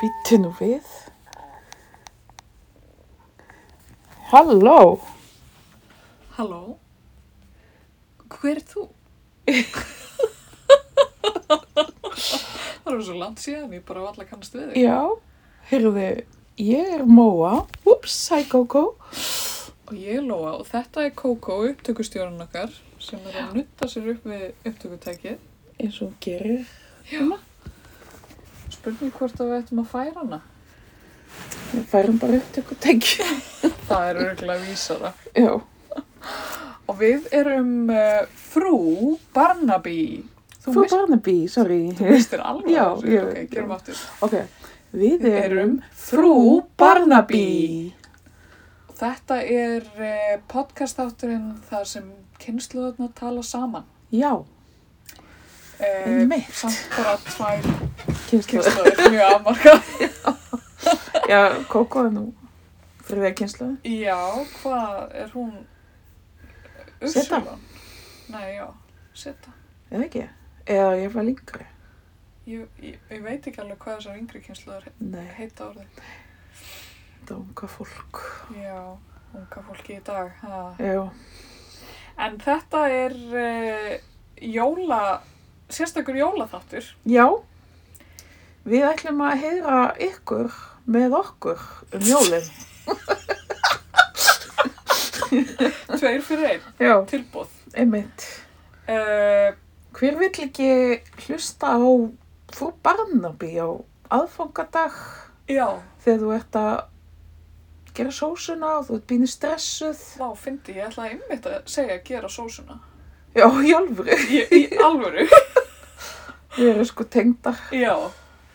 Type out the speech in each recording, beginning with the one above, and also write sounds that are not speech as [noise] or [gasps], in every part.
Býttu nú við. Halló, Halló? Hver er [laughs] þú? það er svo langt síðan, ég bara valla kannast við þig. já, heyrðu, ég er Móa. Úps, hæ Kókó. Og ég er Lóa og þetta er Kókó, upptökustjórun okkar, sem er að nutta sér upp við upptökutækið. Hérna. Eins og hún gerir. Spurning hvort að við ættum að færa hana. Við færum bara upp til okkur tæki. Það er örgulega vísara. Já, Og við erum uh, frú Barnaby. Þú frú veist, Barnaby, sorry. [laughs] veistir alveg. Já, þessu. ég- Ok, gerum aftur. Ok, við Við erum erum frú Barnaby. Þetta er eh, podcastátturinn þar sem kynsluðarna tala saman. Já, Eh, Einmitt. Samt bara tvær kynslu. kynsluður [laughs] mjög afmarka. [laughs] Já, Kókó er nú þriðja kynslu. Já, hvað er hún? Seta. Ursula? Nei, já, seta. Eða ekki? Eða ég var lengri. Ég, ég, ég veit ekki alveg hvað þessar yngri kynsluður Nei, heita orðið. þetta er unga fólk. Já, unga fólki í dag. Ha. Já, En þetta er uh, jóla, sérstakur jólaþáttur. Já, við ætlum að heyra ykkur með okkur um jólinn. Tveir fyrir einn, Já, tilbúð. einmitt. Uh, Hver vill ekki hlusta á frú Barnaby á aðfangadag já, þegar þú ert að gera sósuna og þú ert býnir stressuð? Vá, fyndi, ég ætlaði einmitt að segja að gera sósuna. Já, í alvöru. [laughs] Í, í alvöru. Við erum sko tengdar. Já,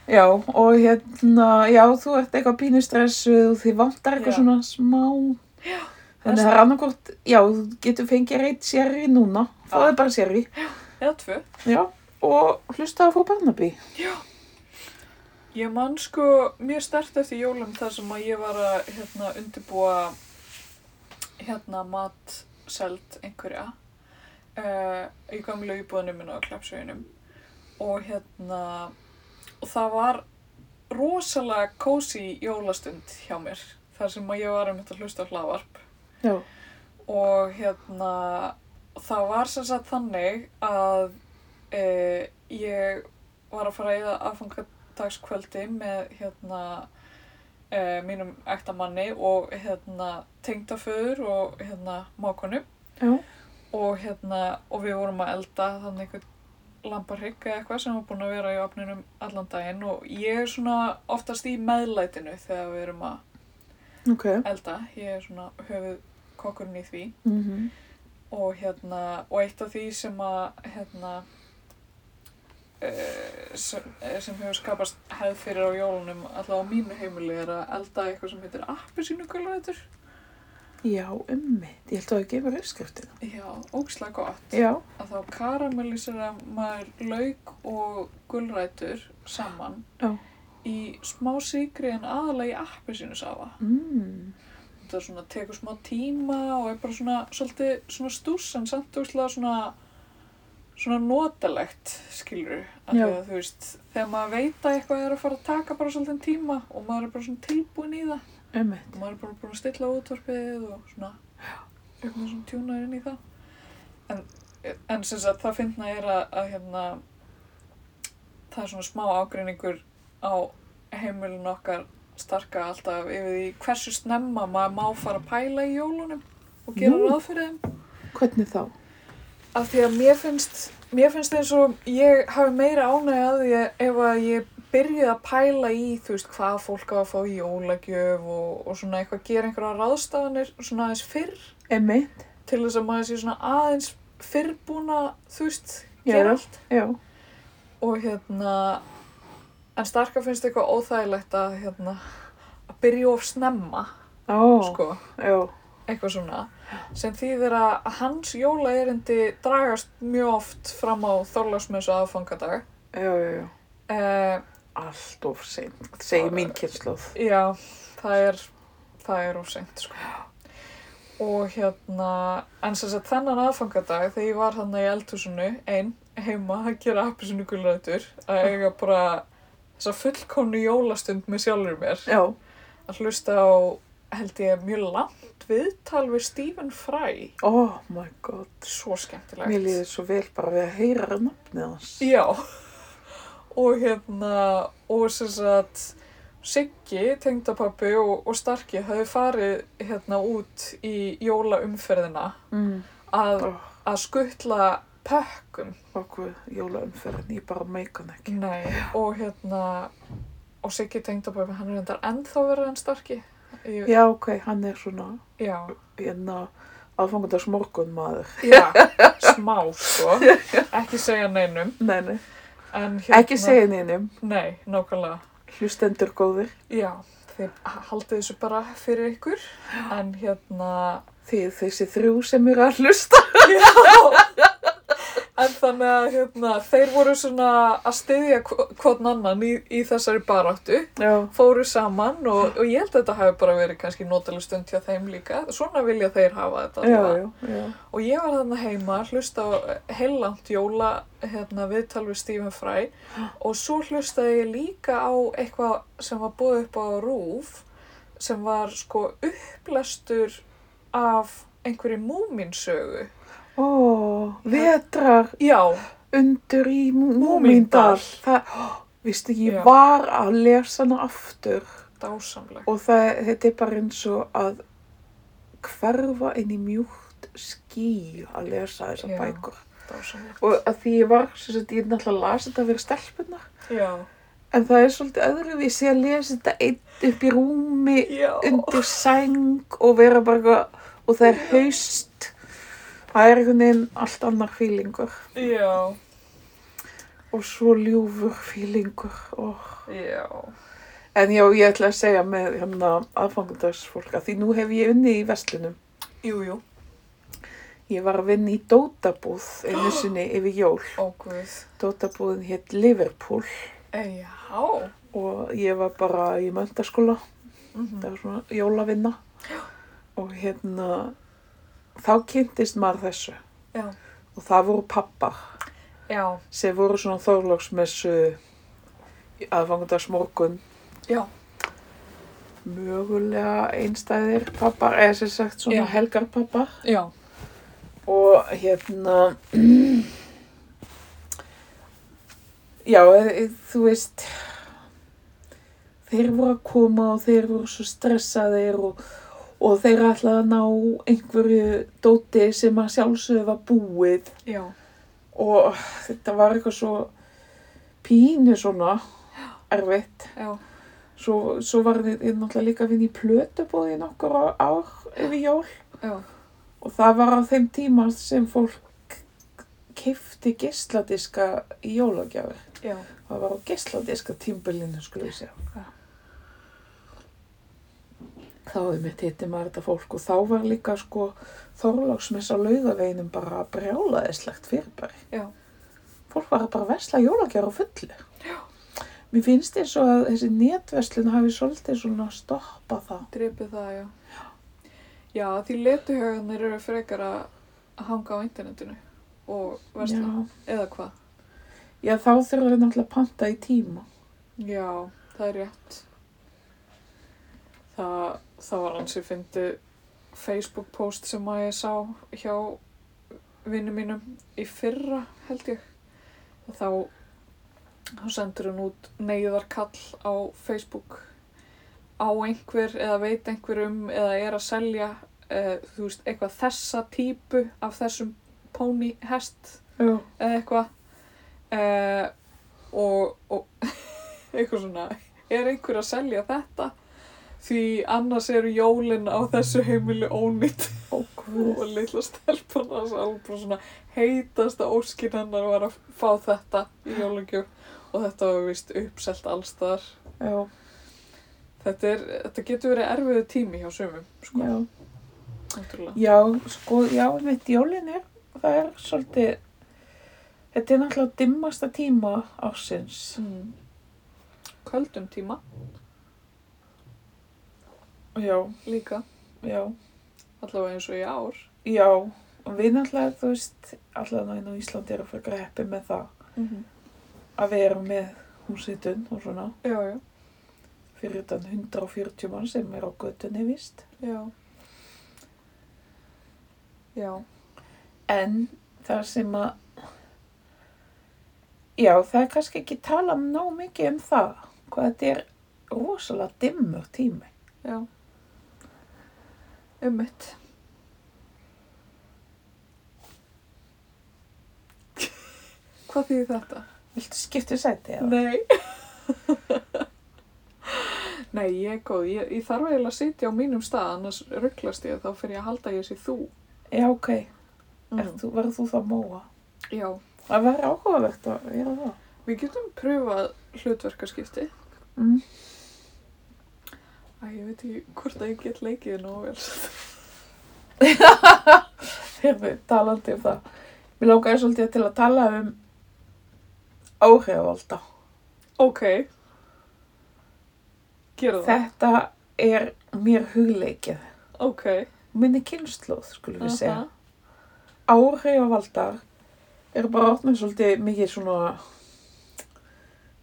Já, og hérna, já, þú ert eitthvað býnir stressuð og þið vantar eitthvað Já. svona smá. Þannig það er annarkort, já, þú getur fengið reitt sérri núna. Fáðu bara sérri. eða tvö. Já, og hlusta á frú Barnaby. Ég man sko mjög stert eftir jólum þar sem að ég var að hérna, undirbúa hérna matseld einhverja uh, í gamlu íbúðinu minna á Klappsveginum og hérna og það var rosalega kósi jólastund hjá mér þar sem að ég var um þetta hlusta á hlaðvarp Já. og hérna það var sem sagt þannig að e, ég var að fara í það aðfangadagskvöldi með hérna e, mínum ektamanni og hérna tengdaföður og hérna mákonum Já. og hérna og við vorum að elda þannig einhvern lamparhygg eða eitthvað sem var búin að vera í opninum allan daginn og ég er svona oftast í meðlætinu þegar við erum að Ok. elda ég er svona höfuð kokkurinn í því Mm og hérna, og eitt af því sem að hérna eh, sem, eh, sem hefur skapast hefð fyrir á jólunum alltaf á mínu heimili er að elda eitthvað sem heitir appelsínugulætur Já, ummið. Ég held að það gefur uppskriftina. já, ógislega gott Já. að þá karamellisir að maður lauk og gulrætur saman Já. í smá sigri en aðalega í appelsínusafa Mm. þetta svona tekur smá tíma og er bara svona svolítið svona stús en samt úrslega svona svona notalegt skilur að Já. því að þú veist þegar maður veit að eitthvað er að fara að taka bara svolítið tíma og maður er bara svona tilbúin í það Ummið. og maður er bara búin að stilla útvarpið og svona eitthvað svona tjúnar inn í það en, en sem sagt það finna er að, að hérna það er svona smá ágreiningur á heimilin okkar starka alltaf yfir því hversu snemma maður má fara að pæla í jólunum og gera Nú. ráð fyrir þeim Hvernig þá? af því að mér finnst mér finnst eins og ég hafi meira ánægja að því að ef að ég byrjuð að pæla í þú veist hvað fólk á að fá í jólagjöf og, og svona eitthvað gera einhverja ráðstafanir svona aðeins fyrr Ummið. til þess að maður sé svona aðeins fyrrbúna þú veist Já. gera allt Já. og hérna en starka finnst eitthvað óþægilegt að hérna að byrja of snemma Ó. sko Já. eitthvað svona sem þýðir að hans jólaerindi dragast mjög oft fram á þorlagsmessu aðfangadag Já, já, já. uh, Allt of seint, segir mín kynsluð. já, það er það er ósengt sko og hérna en sem sagt þennan aðfangadag þegar ég var hann í eldhúsinu einn heima að gera appisinu gulrætur að eiga bara þessa fullkomnu jólastund með sjálfur mér Já, að hlusta á, held ég, mjög langt viðtal við Stephen Fry. oh my god. Svo skemmtilegt. Mér líður svo vel bara við að heyra nafnið hans. Já. Og hérna, og sem sagt, Siggi, tengdapappi og, og Starki hafði farið hérna út í jólaumferðina Mm. að, Oh, að skuttla pökkum. og hvað, jólaumferðin, ég bara meika hann ekki. Nei, og hérna, og Siggi tengdapappi, hann er endar ennþá verið enn Starki. Ég, Já, ok, hann er svona, já. hérna, aðfangandags morgun maður. Já, smá sko. Ekki segja neinum. Nei, nei, En hérna, ekki segja neinum, Nei, nákvæmlega. hlustendur góðir, Já, þið haldið þessu bara fyrir ykkur, en hérna, þið þessi þrjú sem eru að hlusta. en þannig að hérna, þeir voru svona að styðja hvort annan í, í þessari baráttu, Já, fóru saman Hmm. og, og ég held að þetta hafi bara verið kannski notalega stund hjá þeim líka, svona vilja þeir hafa þetta. já, allavega. já, já. Og ég var þarna heima að hlusta á heilangt jóla hérna, viðtal við Stephen Fry og svo hlustaði ég líka á eitthvað sem var búið upp á RÚV sem var sko upplestur af einhverju múminsögu. Ó, vetrar Já, undur í Mú- Múmíndal. Múmíndal. Það, vistu, ég Já. var að lesa hana aftur dásamleg. og það, þetta er bara eins og að hverfa inn í mjúkt ský að lesa þessar Já. bækur. Dásamleg. Og að því ég var, sem sagt, ég náttúrulega las þetta fyrir stelpunar, Já, en það er svolítið öðruvísi að lesa þetta einn upp í rúmi já. undir sæng og vera bara eitthvað, og það er haust, það er einhvern veginn allt annar fílingur. Já, og svo ljúfur fílingur og... já. en já, ég ætla að segja með hérna aðfangandagsfólk að því nú hef ég unnið í vestlunum Jú, jú. ég var að vinna í Dótabúð [gasps] einu sinni yfir jól Ó, guð. Dótabúðin hétt Liverpool Eh, Já. og ég var bara í möndaskóla Mhm. það var svona jólavinna og hérna þá kynntist maður þessu Já. og það voru pappar Já, sem voru svona þorlóksmessu aðfangandagsmorgun já, mögulega einstæðir pappar, eða sem sagt svona Já. helgarpappar já. og hérna [clears throat] já, e- e- þú veist þeir voru að koma og þeir voru svo stressaðir og, og þeir ætlaði að ná einhverju dóti sem að sjálfsögðu var búið Já, og þetta var eitthvað svo pínu svona erfitt já, Svo, svo var ég ég náttúrulega líka að vinna í plötubóði í nokkur á- ár yfir jól já. og það var á þeim tíma sem fólk kifti geisladiska í jólagjafir. Já, Það var á geisladiska tímbilinu, skulle ég Já. segja. Þá hefði mitt hitti maður þetta fólk og þá var líka sko þorláksmessa á laugaveginum bara brjálaðislegt fyrirbæri. já, Fólk var að bara vesla jólagjafir á fullu. Já. Mér finnst eins og að þessi netveslun hafi svolítið svona stoppað það. drepið það, já. Já, því letuhögarnir eru frekar að hanga á internetinu og versla, eða hvað? Já, já þá þurfum við náttúrulega að panta í tíma. Já, það er rétt. Það, það var hans ég fyndi Facebook post sem að ég sá hjá vinnum mínum í fyrra, held ég. Og þá, þá sendur hann út neyðarkall á Facebook á einhver eða veit einhver um eða er að selja uh, þú veist, eitthvað þessa típu af þessum ponyhest Já. eða eitthvað uh, og, og [laughs] eitthvað svona er einhver að selja þetta því annars eru jólin á þessu heimili ónýtt Og og hvað? litla stelpan hans alveg bara svona heitasta óskin hennar var að fá þetta í jólingjöf og þetta var vist uppselt allstar Já, þetta, er, þetta getur verið erfiðu tími hjá sömum sko, já. náttúrulega Já, sko, já, mitt jólin er, það er svolítið, þetta er náttúrulega dimmasta tíma ársins. mm. köldum tíma Já, líka já, allavega eins og í ár já. Og við náttúrulega, þú veist, allavega inn á Íslandi eru fyrir greppi með það mm -hmm. að við erum með hún setun og svona já, já, fyrir utan 140 mann sem er á götunni vist. já. Já, En það sem að, já það er kannski ekki tala um ná mikið um það, hvað þetta er rosalega dimmur tími. já. Um mitt. Hvað þýðir þetta? Viltu skipta sæti eða? Nei. [laughs] Nei, ég er góð. Ég, ég þarf eiginlega að sitja á mínum stað, annars rugglast ég þá fyrir ég að halda að ég sé þú. Já, ok. Mm. Þú, verður þú þá móa? Já. Það verður áhugavert að vera það. Við getum pröfað hlutverkaskipti. Mm. [laughs] Æ, ég veit ekki hvort að ég get leikið nóg vel. Hérðu, talandi um það. Mér lókaði svolítið til að tala um áhrifvalda. Ok. Gerðu það. Þetta er mér hugleikið. Ok. Minni kynnslóð, skulum við segja. Aha. Áhrifvaldar eru bara orðnum svolítið mikið svona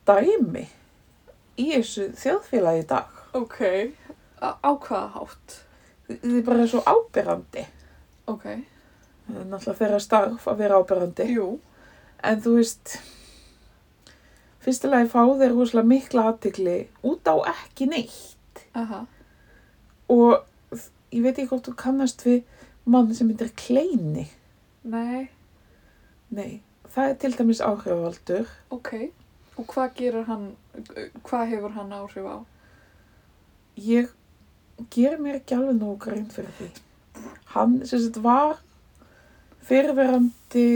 dæmi í þessu þjóðfélagi í dag. Ok. Á á hvaða hátt? Þið er bara svo ábyrrandi. Ok. Það er náttúrulega þeirra starf að vera ábyrrandi. Jú. En þú veist, fyrstilega fá þeir húslega mikla aðtikli út á ekki neitt. Aha. Og þ- ég veit ekki hvort þú kannast við mann sem myndir kleini. Nei. Nei, það er til dæmis áhrifavaldur. Ok. Og hvað gerir hann, hvað hefur hann áhrif á? Ég ger mér ekki alveg nógu grein fyrir því. Hann, sem sagt, var fyrirverandi,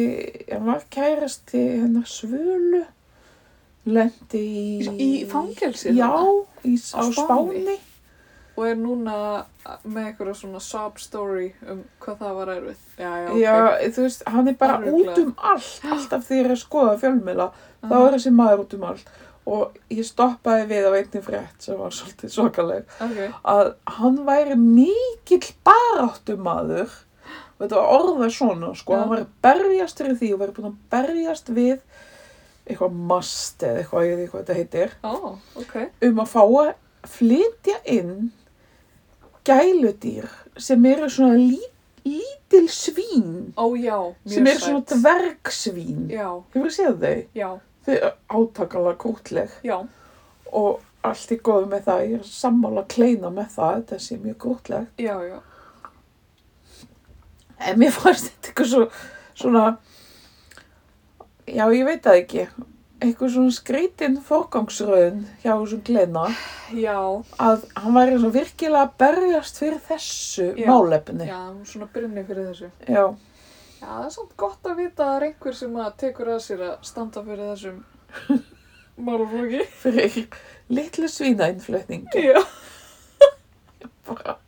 hann var kærasti hennar svölu, lendi í... Í fangelsi? Já, þarna? í, á, Á á Spáni? Spáni. Og er núna með eitthvað svona sob story um hvað það var erfið. Já, já, ok. Já, þú veist, hann er bara Örugglega. út um allt, alltaf því ég er að skoða fjölmiðla, þá Aha. er þessi maður út um allt. Og ég stoppaði við á einni frétt sem var svolítið svakaleg, Ok, að hann væri mikill baráttumadur, og þetta var orðað svona, sko, Já. hann væri berjast fyrir því og væri búinn að berjast við eitthvað mast eða eitthvað, ég veit ekki hvað þetta heitir, ó, ok. um að fá að flytja inn gæludýr sem eru svona lí, lítil svín Ó, já, mjög sem eru sæt. svona dvergsvín. Já, Hefur séð þau? já, Þau eru átakanlega krútleg já, og allt í góðu með það. Ég er sammála að kleina með það, þetta sé mjög krútleg. já, já. En mér fannst þetta eitthvað svo, svona, já ég veit það ekki, eitthvað svona skrítinn forgangsröðun hjá þessum kleina Já, að hann væri svona virkilega að berjast fyrir þessu Já. málefni. já, hún svona brunni fyrir þessu. Já. Já, það er samt gott að vita að það er einhver sem að tekur að sér að standa fyrir þessum málflóki. fyrir litlu svínainflutningi. Já, bara [laughs]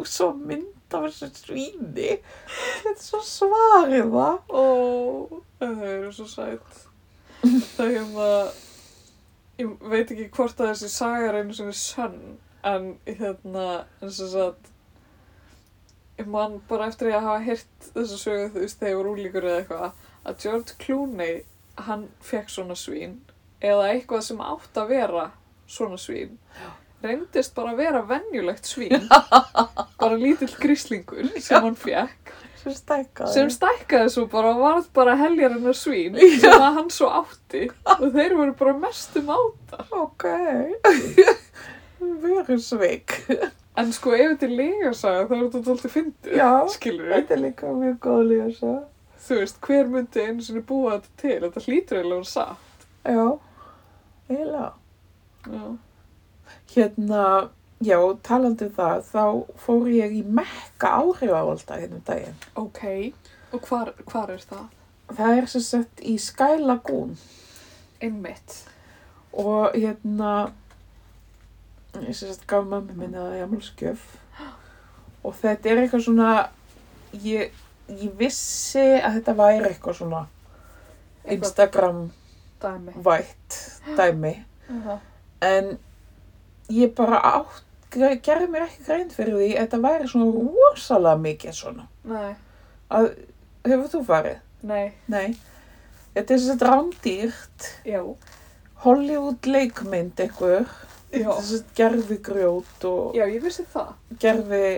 og svo mynd af þessu svíni þetta er svo svarið það ó, en þau eru svo sætt. Það er um að, ég veit ekki hvort að þessi saga er einu sem er sönn, en hérna, eins og sagt, ég man bara eftir ég að hafa heyrt þessa sögu þú veist þegar ég voru úlíkur eða eitthvað, að George Clooney, hann fekk svona svín, eða eitthvað sem átt að vera svona svín, reyndist bara að vera venjulegt svín, bara lítill gríslingur sem hann fekk sem stækkaði sem stækkaði svo bara og varð bara heljarinnar svín sem að hann svo átti og þeir voru bara mestum átt [laughs] ok veru sveik en sko ef þetta er legasaga þá er þetta alltaf fyndið Já. skilur við, þetta er líka mjög góð ljósa þú veist hver myndi einu sinni búa þetta til þetta hlýtur eiginlega hún satt já, eiginlega já, hérna, já, talandi um það þá fór ég í mekka áhrifaválda hérna um daginn ok, og hvar, hvar er það? það er sem sett í Sky Lagoon einmitt og hérna ég sem sagt gaf mömmu minni það í ammalskjöf og þetta er eitthvað svona ég, ég vissi að þetta væri eitthvað svona Eitthvað Instagram dæmi vætt dæmi Aha. en ég bara átt gre- gerði mér ekki grein fyrir því að þetta væri svona rosalega mikið svona nei, að, hefur þú farið? nei, Nei, þetta er sem sagt rándýrt já Hollywood leikmynd einhver Já. þess að gerfi grjót og Já, ég vissi það. gerfi,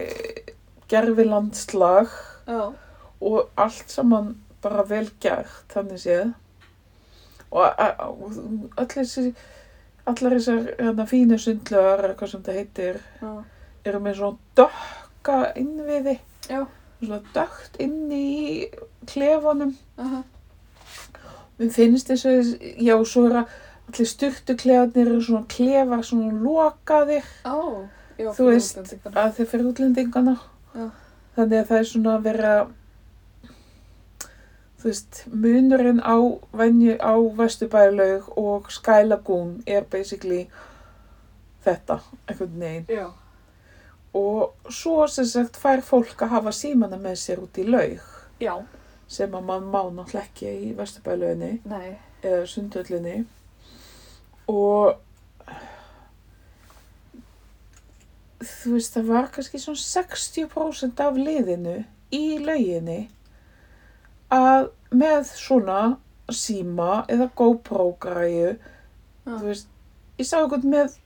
gerfi landslag Já. og allt saman bara vel gert þannig séð og a- a- og öll þessi allar þessar hérna, fínu sundlögar eða hvað sem það heitir Já. eru með svona dökka innviði Já. svona dökkt inn í klefanum Aha. mér finnst þess að já svo er að allir styrtuklefanir eru svona klefar svona lokaðir Á. Já, Þú veist, útlendingana. að þeir fyrir útlendingana Já. þannig að það er svona að vera þú veist munurinn á venju á Vesturbælaug og Skylagún er basically þetta, einhvern veginn Já. og svo sem sagt fær fólk að hafa símana með sér út í laug Já. sem að mann má náttúrulega ekki í Vesturbælauginni Nei. eða sundhöllinni og þú veist það var kannski svona 60% af liðinu í lauginni að með svona síma eða GoPro græju Já. þú veist, ég sá eitthvað með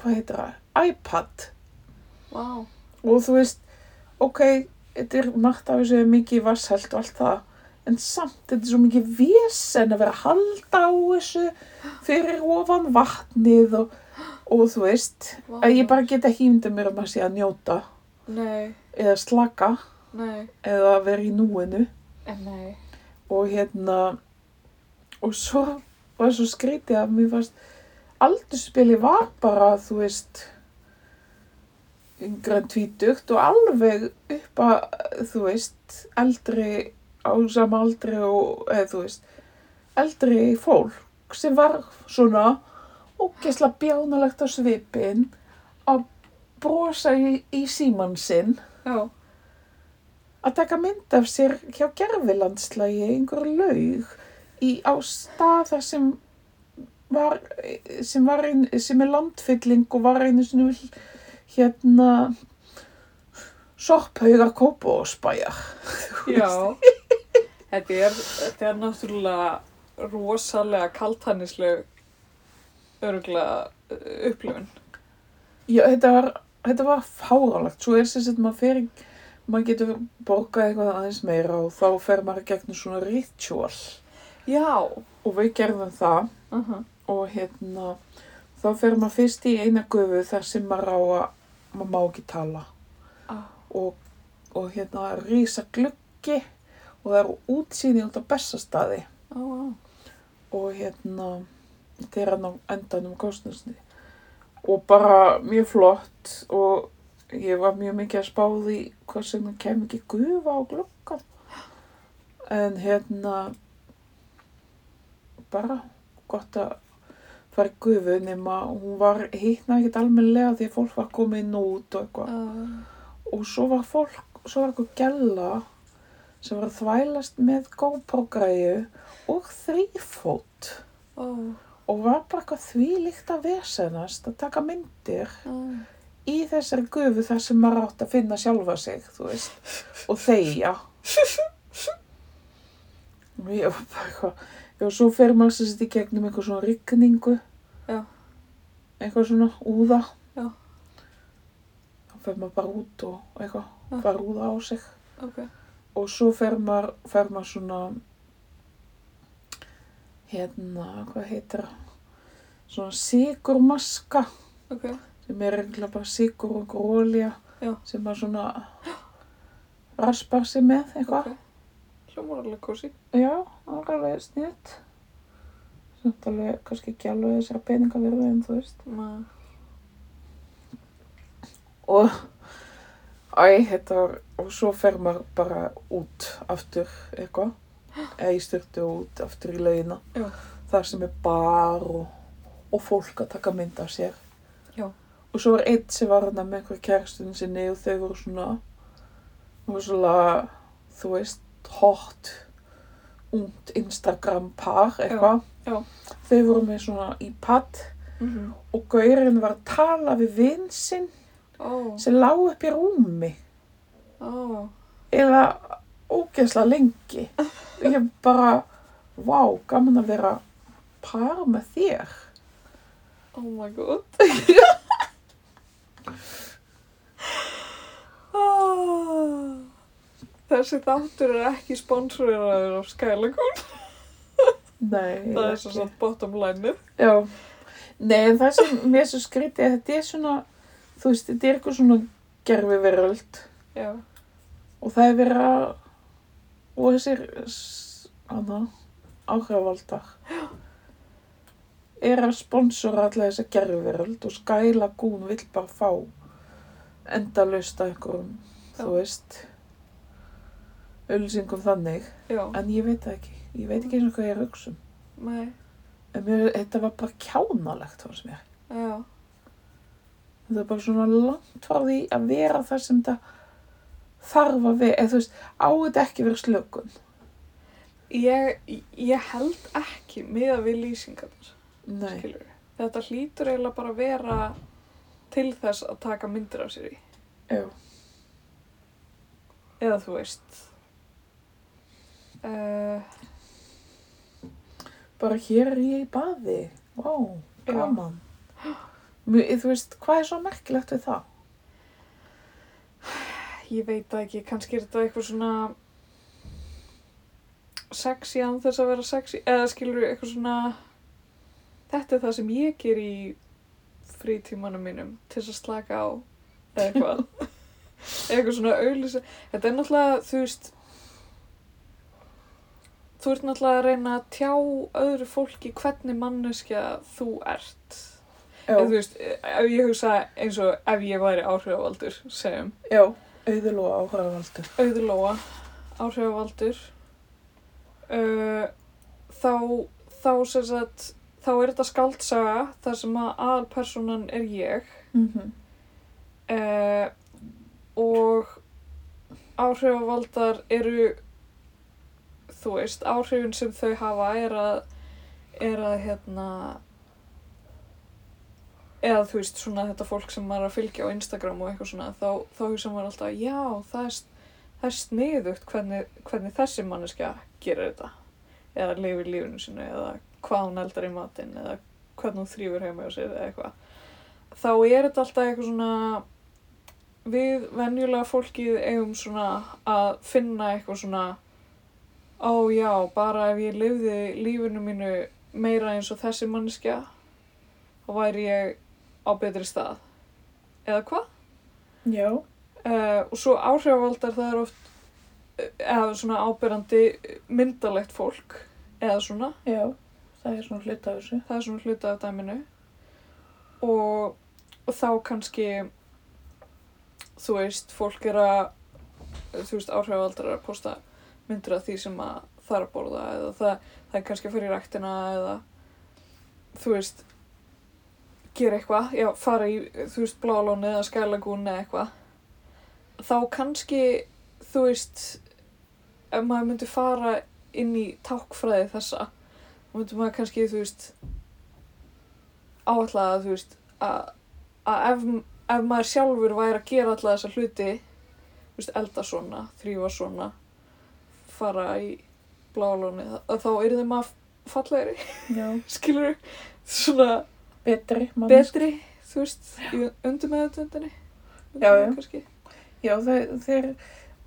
hvað heitir það, iPad Vá. og þú veist, ok þetta er margt af þessu er mikið vasshælt og allt það en samt þetta er svo mikið vesen að vera að halda á þessu fyrir ofan vatnið og, og þú veist Vá. að ég bara get ekki ímynda mér að maður sé að njóta Nei. eða slaka Nei. eða vera í núinu En nei. og hérna og svo var svo skrítið að mér fannst aldurspili var bara þú veist yngre en tvítugt og alveg upp að þú veist eldri á sama aldri og eða þú veist eldri fólk sem var svona ógesla bjánalegt á svipin að brosa í, í símann sinn Já. að taka mynd af sér hjá gerfilandslægi einhver laug í, á staða sem var, sem, var ein, sem er landfylling og var einu sinni hl- hérna sorphauðar [laughs] kópósbæjar. Já, þetta er, þetta er náttúrulega rosalega kaltannisleg öruglega uh, upplifun. Já, þetta var, þetta var fáránlegt. Svo er sem sagt maður fer, í- maður getur borgað eitthvað aðeins meira og þá fer maður í gegnum svona ritual Já, og við gerðum það. uh -huh. og hérna þá fer maður fyrst í eina gufu þar sem maður á að maður má ekki tala Ah. og, og hérna það er rísa gluggi og það eru útsýni út á bestastaði á, á, og hérna þetta er hann á endanum kostnusni og bara mjög flott og ég var mjög mikið að spá því hvað sem það kem ekki gufa á gluggan en hérna bara gott að fara í gufu nema hún var hittna ekkert almennilega því að fólk var komið inn og út og eitthvað og svo var fólk, svo var eitthvað gælla sem var að þvælast með GoPro-græju og þrýfót á, og var bara eitthvað þvílíkt að vesenast að taka myndir á, í þessari gufu þar sem maður átt að finna sjálfa sig, þú veist, og þeia. Og Ég var bara eitthvað, já, svo fer maður sem sitt í gegnum eitthvað svona rigningu, Já. eitthvað svona úða. Já. Þá fer maður bara út og eitthvað, Já. bara úða á sig ok. og svo fer maður, fer maður svona hérna, hvað heitir það svona sigurmaska Ok, sem er eiginlega bara sigur og grólia Já. sem maður svona raspar sig með eitthvað ok. Hljómar alveg kósi. já, það er alveg snitt samt alveg kannski ekki alveg þessar peninga verið en þú veist Ma, og æ, þetta var og svo fer maður bara út aftur [gasps] eitthvað eða í styrtu og út aftur í laugina Já. þar sem er bar og, og fólk að taka mynd af sér Já. og svo var einn sem var hana með einhver kærstun sinni og þau voru svona voru svona þú veist hot ungt Instagram par eitthvað já. þau voru með svona iPad mm -hmm. og gaurinn var að tala við vinn sinn Ó, sem lág upp í rúmi ó, eða ógeðslega lengi og ég bara, vá, gaman að vera par með þér Oh my god. Ah. Þessi þáttur er ekki sponsoraður af Skylagoon. Nei, Það er svo satt bottom line-ið. Já, nei en það sem mér er svo skrítið að þetta er svona, þú veist, þetta er eitthvað svona gerfi veröld Já. og það er verið að, og þessir, s- hana, áhrifaldar, er að sponsora alla þessa gerfi veröld og skæla gún vill bara fá endalaust að einhverjum, Já. þú veist, ölsingum þannig, Já. en ég veit það ekki, ég veit ekki eins og hvað ég er að hugsa um. Nei. En mér, þetta var bara kjánalegt fannst mér. Já. Þetta er bara svona langt frá því að vera það sem þetta þarf að vera, eða þú veist, á þetta ekki að vera slökun. Ég, ég held ekki miða við lýsingarnar, Nei, skilur Þetta hlýtur eiginlega bara að vera til þess að taka myndir af sér í. já, Eða þú veist. Uh, bara hér er ég í baði, vá, gaman. [gasps] Mjö, þú veist, hvað er svo merkilegt við það? ég veit það ekki, kannski er þetta eitthvað svona sexy án þess að vera sexy. Eða skilur eitthvað svona, þetta er það sem ég ger í frítímanum mínum til þess að slaka á. Eða eitthvað. eitthvað svona auðlýsa. Þetta er náttúrulega, þú veist, þú ert náttúrulega að reyna að tjá öðru fólki hvernig manneskja þú ert. Já, En þú veist, ef ég hugsa eins og ef ég væri áhrifavaldur, segjum, já, auðurlóa áhraðavaldur. auðlóa, áhrifavaldur, uh, þá, þá sem sagt, þá er þetta skaldsaga þar sem að aðalpersonan er ég Mm -hmm. uh, og áhrifavaldar eru, þú veist, áhrifin sem þau hafa er að, er að hérna, eða þú veist svona þetta fólk sem maður er að fylgja á Instagram og eitthvað svona þá, þá hugsa maður alltaf já það er, það er sniðugt hvernig, hvernig þessi manneskja gerir þetta eða lifir lífinu sinu eða hvað hún eldar í matinn eða hvernig hún þrýfur heima á sér eða eitthvað þá er þetta alltaf eitthvað svona við venjulega fólkið eigum svona að finna eitthvað svona ó já, bara ef ég lifði lífinu mínu meira eins og þessi manneskja þá væri ég á betri stað eða hvað? Já, Uh, og svo áhrifavaldar það er oft eh, eða svona ábyrrandi myndalegt fólk eða svona, já, það er svona hluta af þessu. það er svona hluta af dæminu og, og þá kannski þú veist, fólk er að þú veist, áhrifavaldar er að posta myndir af því sem að það er að borða eða það, það er kannski að fara í ræktina eða þú veist gera eitthvað, já, fara í þú veist, blálónu eða skælagún eða eitthvað þá kannski þú veist ef maður myndi fara inn í tákfræði þessa þá myndi maður kannski, þú veist áætla að þú veist að, að ef, ef maður sjálfur væri að gera alla þessa hluti þú veist, elda svona, þrýfa svona fara í blálónu, þá yrði maður fallegri, [laughs] Já, skilur svona betri mannesk. betri, þú veist, í undir með þetta undinni. Já, já. Kannski. Já, þeir, þeir,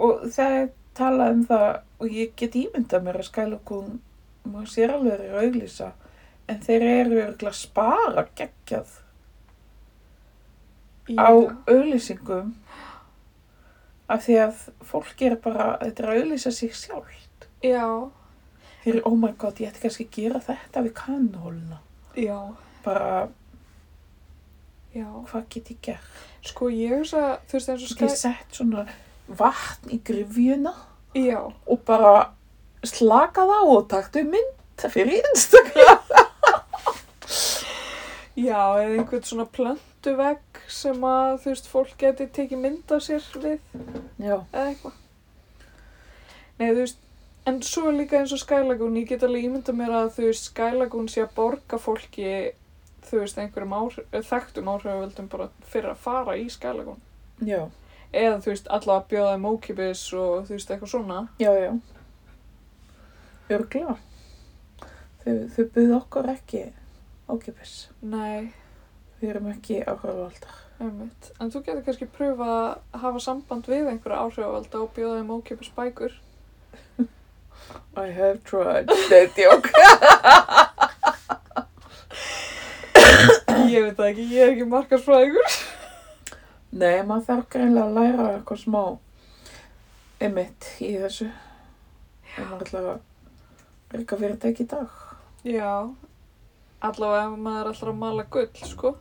og það er talað um það og ég get ímyndað mér að skælokun maður sér alveg þeir að auglýsa en þeir eru örgulega að spara geggjað á auglýsingum af því að fólk er bara, þetta er að auglýsa sig sjálft Já, þeir eru, oh my god, ég ætti kannski að gera þetta við kannhóluna já, bara, já. hvað get ég gert? Sko, ég hugsa, þú veist, eins og Ég get skæ... sett svona vatn í grifjuna Já, og bara slaka það og taktu mynd fyrir Instagram. já, eða einhvern svona plöntuvegg sem að, þú veist, fólk geti tekið mynd af sér við Já, eða eitthvað. Nei, þú veist, en svo er líka eins og skælagún, ég get alveg ímynda mér að, þú veist, skælagún sé að borga fólki, þú veist, einhverjum áhrif, þekktum áhrifavöldum bara fyrir að fara í skælagún. já, eða þú veist allavega að bjóða þeim ókipis og þú veist eitthvað svona já, já. Örgla. Þau, þau buðu okkur ekki ákipis. nei, Við erum ekki áhrifaldar. Einmitt. En þú getur kannski pröfað að hafa samband við einhverja áhrifavalda og bjóða þeim ókipis bækur. I have tried. Nei, djók. Ég veit það ekki, ég er ekki markarsfræðingur. Nei, maður þarf greinlega að læra eitthvað smá emitt í þessu. Ef maður ætlar að reyka fyrirtæki í dag. Já, allavega ef maður er alltaf að mala gull, sko.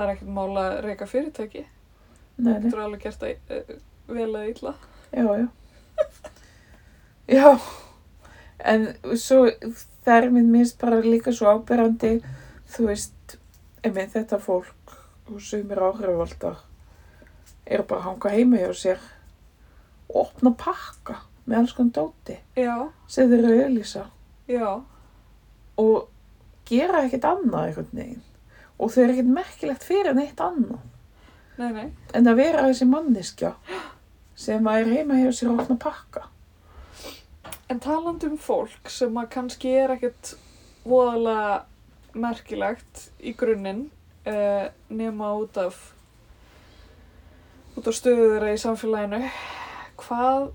Það er ekkert mála að reyka fyrirtæki. Nei, nei. Þú er alveg gert að, eh, vel eða illa. Já, já. [laughs] já, en svo það er minn minnst bara líka svo ábyrrandi, þú veist, emið þetta fólk og sumir áhrifaldar eru bara að hanga heima hjá sér og opna pakka með alls konar dóti Já, sem þeir eru að auðlýsa já, og gera ekkert annað einhvern veginn og þau eru ekkert merkilegt fyrir neitt annað nei, nei. en að vera þessi manneskja sem að er heima hjá sér og opna pakka. En talandi um fólk sem að kannski er ekkert voðalega merkilegt í grunninn uh, nema út af út af stöðu þeirra í samfélaginu hvað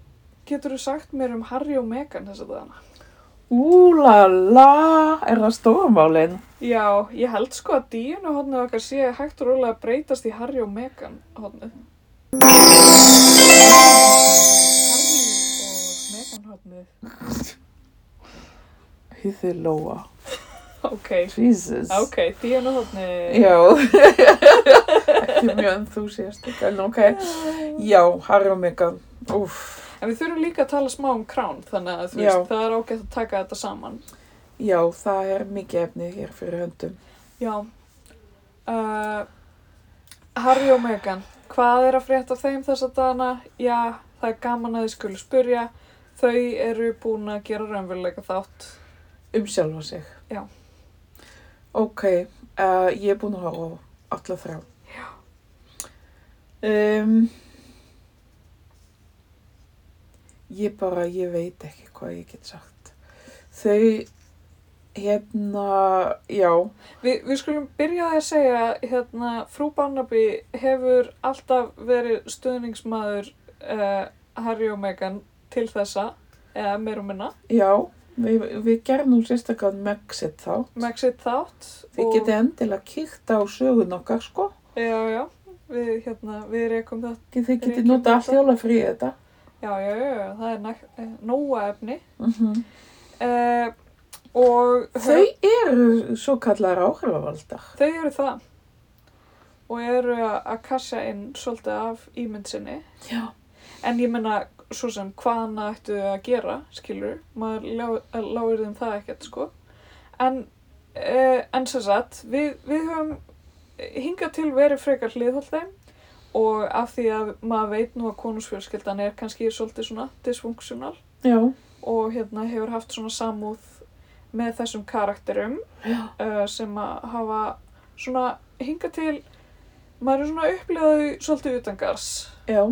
getur þú sagt mér um Harry og Meghan þess að þaðana? Úlala, er það stórmálin? Já, ég held sko að díunu hodnið okkar sé hægt og rólega að breytast í Harry og Meghan hodnið Harry og Meghan hodnið Hýði Lóa. Ok, Jesus. ok, díunu hodnið Já. Ekki um mjög enthúsiastik, en ok. Já, Harry og Meghan. Úff. En við þurfum líka að tala smá um krán, þannig að þú Já. veist, það er ágætt að taka þetta saman. Já, það er mikið efni hér fyrir höndum. Já. Uh, Harry og Meghan, hvað er að frétta af þeim þessa dagana? Já, það er gaman að þið skulu spurja. Þau eru búin að gera raunveruleika þátt. Um sjálfa sig. Já. Ok, uh, ég er búin að horfa á alla þrjá. Já. Um, ég bara, ég veit ekki hvað ég get sagt. Þau, hérna, já, Vi, við skulum byrja á því að segja hérna, frú Barnaby hefur alltaf verið stuðningsmaður uh, Harry og Meghan til þessa, eða meir og minna, já, við, við gerum nú sérstaklega Megxit þá. Megxit þátt. Þið og- getið endilega kíkt á sögun okkar, sko. Já, já, við, hérna, við reykum það. Þið þið Reykjavík getið nota allt þetta. jólafrið í þetta. Já, já, já, já, það er næg, eh, nóga efni. Mm Uh, og Þau eru svo kallar áhrifavaldar. þau eru það og eru að að kassa inn svolítið af ímynd sinni. Já. En ég menna, svo sem, hvaðan ættu þau að gera, skilur, maður lá- láir þeim það ekkert, sko. En, uh, en sem sagt, við, við höfum hingað til verið frekar hliðhald þeim og af því að maður veit nú að konusfjölskyldan er kannski svolítið svona disfunksional Já. og hérna hefur haft svona samúð með þessum karakterum Já. uh, sem að hafa svona hinga til maður er svona upplýðaðu svolítið utangars Já.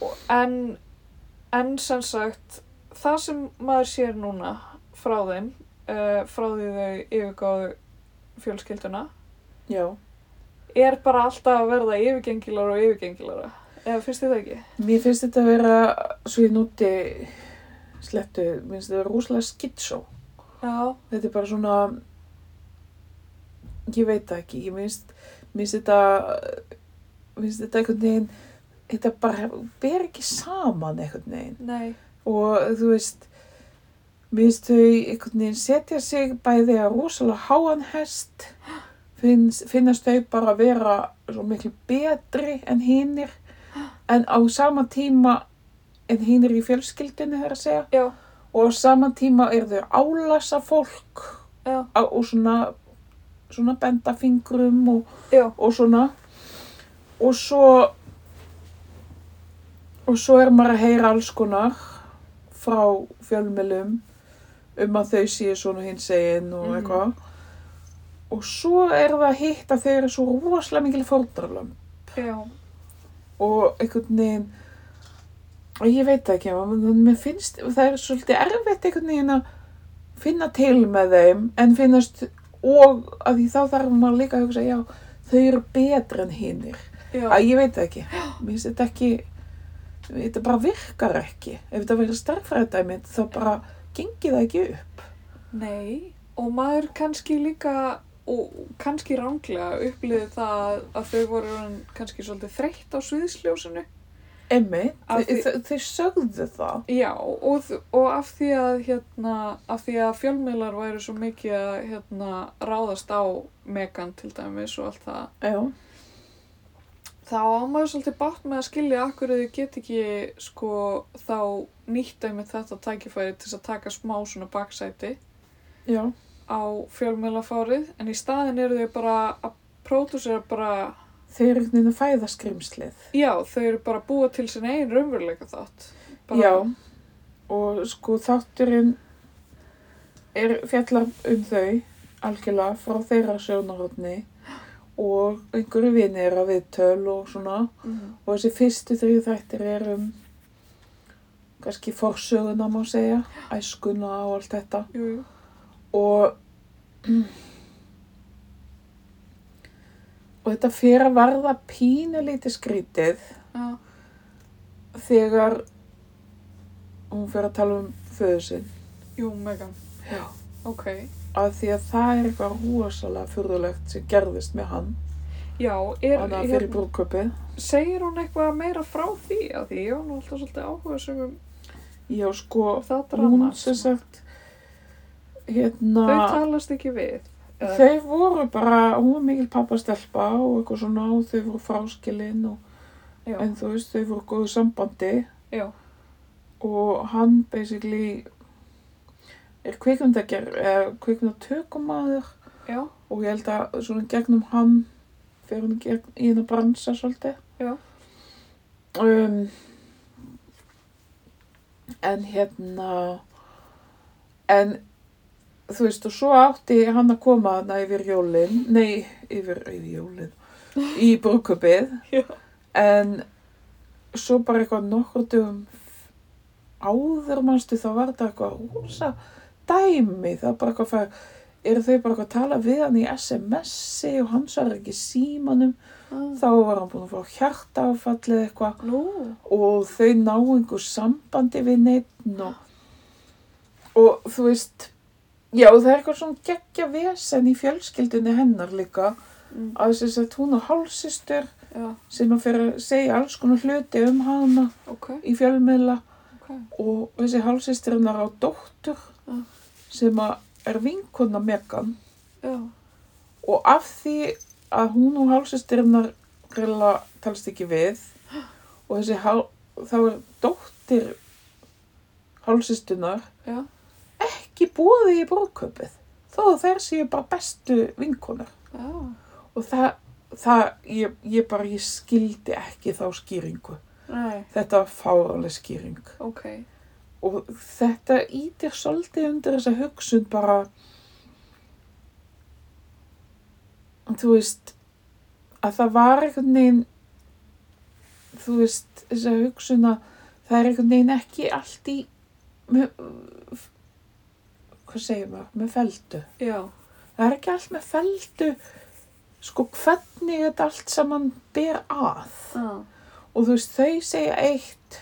Og- en, en sem sagt það sem maður sér núna frá þeim uh, frá því þau yfirgáðu fjölskylduna Já. er bara alltaf að verða yfirgengilara og yfirgengilara eða finnst þið það ekki? Mér finnst þetta að vera, svo ég núti slettu, mér finnst þetta að vera rúslega skitsó. Já, Þetta er bara svona, ég veit það ekki, ég finnst, mér finnst þetta, mér finnst þetta einhvern veginn, þetta bara ber ekki saman einhvern veginn. nei, Og þú veist, mér finnst þau einhvern veginn setja sig bæði að rúslega háan hest, finnst, finnast þau bara að vera svo miklu betri en hinnir, en á sama tíma en hinnir í fjölskyldunni þeir að segja já, og á sama tíma eru þau álasa fólk já, á, og svona, svona benda fingrum og, já, og svona og svo og svo er maður að heyra alls konar frá fjölmjölum um að þau séu svona hins eginn og Mhm. eitthvað og svo er það hitt að þau eru svo rosalega mikil fórnarlömb já, og einhvern veginn og ég veit það ekki man, mér finnst, það er svolítið erfitt einhvern veginn að finna til með þeim en finnast og að því þá þarf maður líka að hugsa já, þau eru betri en hinnir já, að ég veit það ekki mér finnst þetta ekki þetta bara virkar ekki ef þetta verður starffræðdæmi þá bara gengið það ekki upp nei. Og maður kannski líka, og kannski ránglega, upplýði það að þau voru orðin kannski svolítið þreytt á sviðsljósinu. Einmitt, þau, Af því- þau, þau sögðu það Já, og, þ- og af því að hérna, af því að fjölmiðlar væru svo mikið að hérna, ráðast á Megan til dæmis og allt það já, þá á maður svolítið bátt með að skilja akkur þau get ekki sko þá nýtt einmitt þetta tækifæri til þess að taka smá svona baksæti já, á fjölmiðlafárið en í staðin eru þau bara að pródúsera bara þau eru einhvern veginn að fæða skrimslið já, þau eru bara að búa til sinna einn raunveruleika þátt bara, já, og sko þátturinn er fjallar um þau algjörlega frá þeirra sjónarhóttni og einhverju vini er að viðtöl og svona Mhm. og þessi fyrstu þrjú þættir er um kannski forsöguna má segja, æskuna og allt þetta jú, jú, og og þetta fyrir að varða pínulítið skrítið já, þegar hún fyrir að tala um föðu sinn jú, Megan Já. ok, að því að það er eitthvað rosalega furðulegt sem gerðist með hann já, er hérna- hann að fyrir brúköpið segir hún eitthvað meira frá því að því ég var nú alltaf svolítið áhuga sem um já sko, hún það drama sem sko. sagt hérna þau talast ekki við eða- Þau voru bara, hún var mikil pappastelpa og eitthvað svona og þau voru fráskilin og, já, en þú veist, þau voru góðu sambandi já, og hann basically er kvikmyndager, er kvikmyndatökumæður já, og ég held að svona gegnum hann fyrir hann gegn, í hennar bransa svolítið. Já. Um, en hérna, en þú veist og svo átti hann að koma þarna yfir jólin, nei yfir, yfir jólin, í [laughs] brúkupið. Já. En svo bara eitthvað nokkur dögum áður manstu þá var þetta eitthvað rosa dæmi, það var bara eitthvað fæ, eru þau bara eitthvað að tala við hann í SMS-i og hann svarar ekki símanum Ah, þá var hann búin að fá hjartaáfallið eitthvað nú og þau ná einhver sambandi við neitt og, og þú veist já og það er eitthvað svona geggja vesen í fjölskyldunni hennar líka Mm, að þess að hún og hálsistur já, sem að fyrir að segja alls konar hluti um hana ok, í fjölmiðla ok og þessi hálsistur hennar á dóttur Já. sem að er vinkona Megan já, og af því að hún og hálsistyrnar grilla talst ekki við og þessi hál, þá er dóttir hálsistunar já, ekki búið í brúðkaupið þó að þær séu bara bestu vinkonar já og það, það ég, ég bara, ég skildi ekki þá skýringu nei, þetta var fáraleg skýring ok og þetta ítir svolítið undir þessa hugsun bara þú veist að það var einhvern veginn þú veist þessa hugsun að það er einhvern veginn ekki allt í með, hvað segir maður, með feldu já, það er ekki allt með feldu sko hvernig þetta allt saman ber að ah, og þú veist þau segja eitt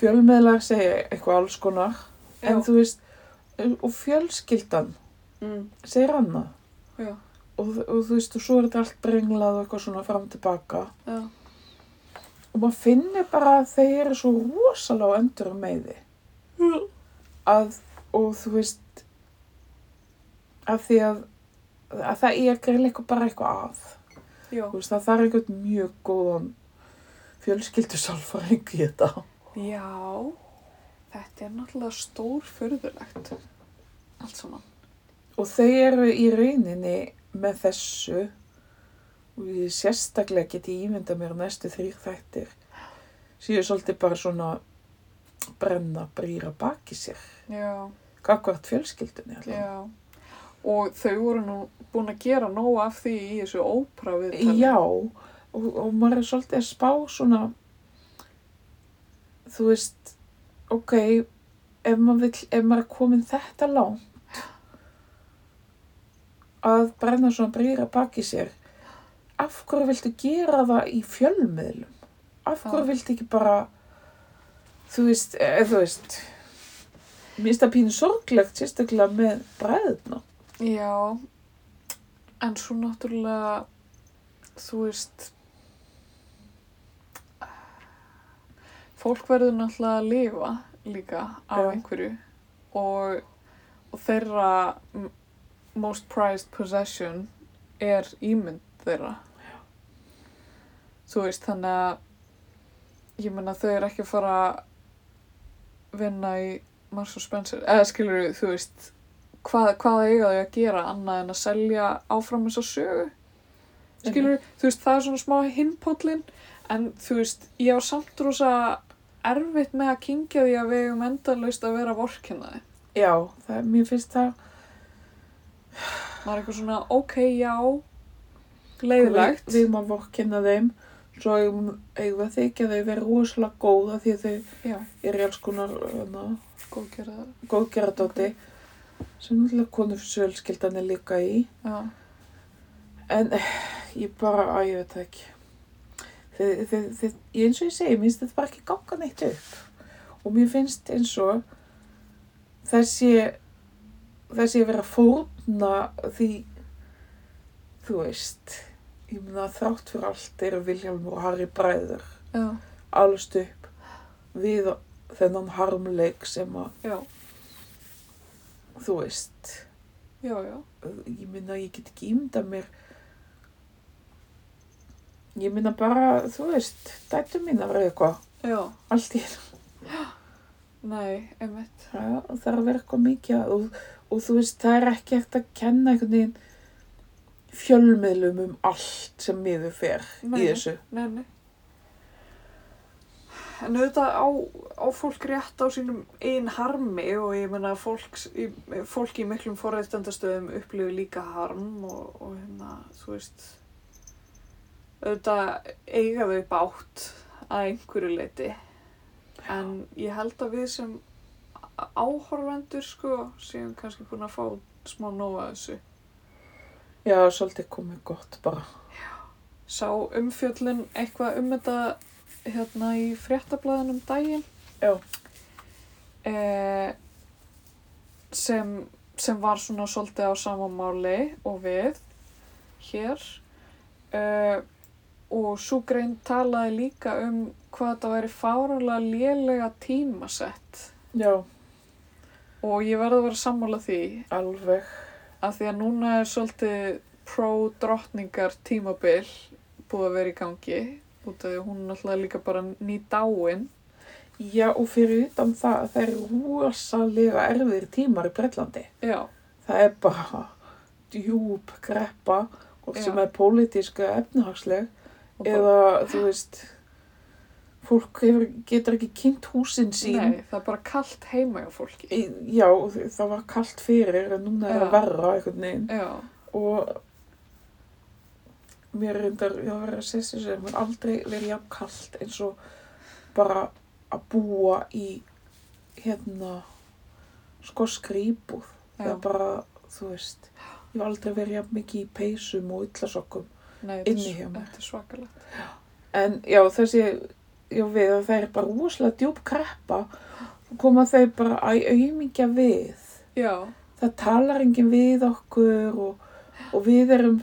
fjölmiðlar segja eitthvað alls konar já, en þú veist um, og fjölskyldan mm, segir annað já, og, og þú veist og svo er þetta allt brenglað og eitthvað svona fram og tilbaka já, og maður finnir bara að þeir eru svo rosalega á endur með því já, að og þú veist að því að, að það er greið eitthvað bara eitthvað að já, þú veist það þarf einhvern mjög góðan fjölskyldusalfræðing í þetta já þetta er náttúrulega stór furðulegt allt saman Og þau eru í rauninni með þessu og ég sérstaklega geti ímynda mér að næstu þrýr þættir séu svolítið bara svona brenna brýra baki sér já, gagvart fjölskyldunni allavega. já og þau voru nú búin að gera nóg af því í þessu ópra viðtali Já, og, og maður er svolítið að spá svona þú veist ok, ef maður, vill, ef maður er komin þetta langt að brenna svona brýra baki sér af hverju viltu gera það í fjölmiðlum af Já. hverju viltu ekki bara þú veist, eða þú veist mér finnst það pínu sorglegt sérstaklega með bræðna Já, en svo náttúrulega, þú veist, fólk verður náttúrulega að lifa líka á Já. einhverju og, og þeirra m- most prized possession er ímynd þeirra. Þú veist, þannig að ég meina þau eru ekki að fara að vinna í Marks og Spencer, eða skilur þú veist, hvað, hvað eiga þau að gera annað en að selja áfram þessa sögu skilur, þú veist, það er svona smá hinpóllin en þú veist, ég á samt rosa erfitt með að kynkja því að við eigum endalaust að vera vorkinnaði já, það, mér finnst það maður er eitthvað svona, ok, já leiðilegt við, við maður vorkenna þeim svo eigum, eigum við að þykja þau vera rosalega góða því að þau já, eru í alls konar hérna, hana, góðgerða það góðgerðardóti sem náttúrulega konu fjölskyldan er líka í já, en eh, ég bara, að ég veit það ekki þið, þið, þið, ég eins og ég segi, mér finnst þetta bara ekki ganga neitt upp og mér finnst eins og þessi þessi að vera að fórna því þú veist ég meina þrátt fyrir allt eru Vilhjálmur og Harry bræður já, alveg upp við þennan harmleik sem að já, þú veist já, já. ég minna, ég get ekki ímynda mér ég minna bara, þú veist dættu mínar eða eitthvað, já. allt í einu. nei, einmitt það það er að vera eitthvað mikið að- og, og þú veist, það er ekki eftir að kenna einhvern veginn fjölmiðlum um allt sem miður fer í Nei. þessu nei, nei En auðvitað á, á fólk rétt á sínum einn harmi og ég meina að fólk, fólk í miklum forreitendastöðum upplifir líka harm og, og hérna, þú veist, auðvitað eiga þau bátt að einhverju leiti. En ég held að við sem áhorfendur sko séum kannski búin að fá smá nóga þessu. já, svolítið komið gott bara sá umfjöllun eitthvað um þetta hérna í fréttablaðinum daginn Já. eh, sem, sem var svona svolítið á sama máli og við hér eh, og svo grein talaði líka um hvað þetta væri fáranlega lélega tímasett já, og ég verði að vera sammála því alveg að því að núna er svolítið pró-drottningar tímabil búið að vera í gangi út af því að hún er náttúrulega líka bara ný dáin já, og fyrir utan það, það er rosalega erfiðir tímar í Bretlandi já, það er bara djúb greppa hvort Já. sem er pólitísk eða efnahagsleg og bara, eða þú veist fólk hefur, getur ekki kynnt húsin sín nei, það er bara kalt heima hjá fólki Í, já, það var kalt fyrir en núna er Já. það verra einhvern veginn já, og mér reyndar, ég var að segja sér mér aldrei verið jafn kalt eins og bara að búa í hérna sko, skoskri íbúð já, eða bara, þú veist ég hef aldrei verið jafn mikið í peysum og yllasokkum nei, þetta er inni s- hjá mér. þetta er svakalegt en já, þessi já, við, að það er bara rosalega djúb kreppa og koma þau bara að auðmingja við já, það talar enginn við okkur og, og við erum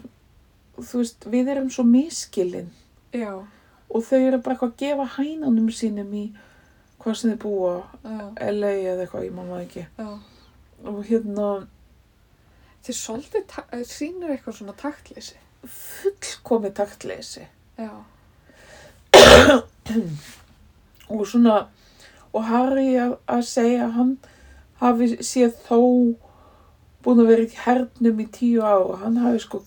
þú veist, við erum svo miskilin já, og þau eru bara eitthvað að gefa hænanum sínum í hvað sem þau búa já, LA eða eitthvað, ég manna ekki já og hérna þetta er svolítið, ta- þetta sýnir eitthvað svona taktleysi fullkomi taktleysi já, og svona og Harry að, að segja að hann hafi séð þó búin að vera í hernum í tíu ára hann hafi sko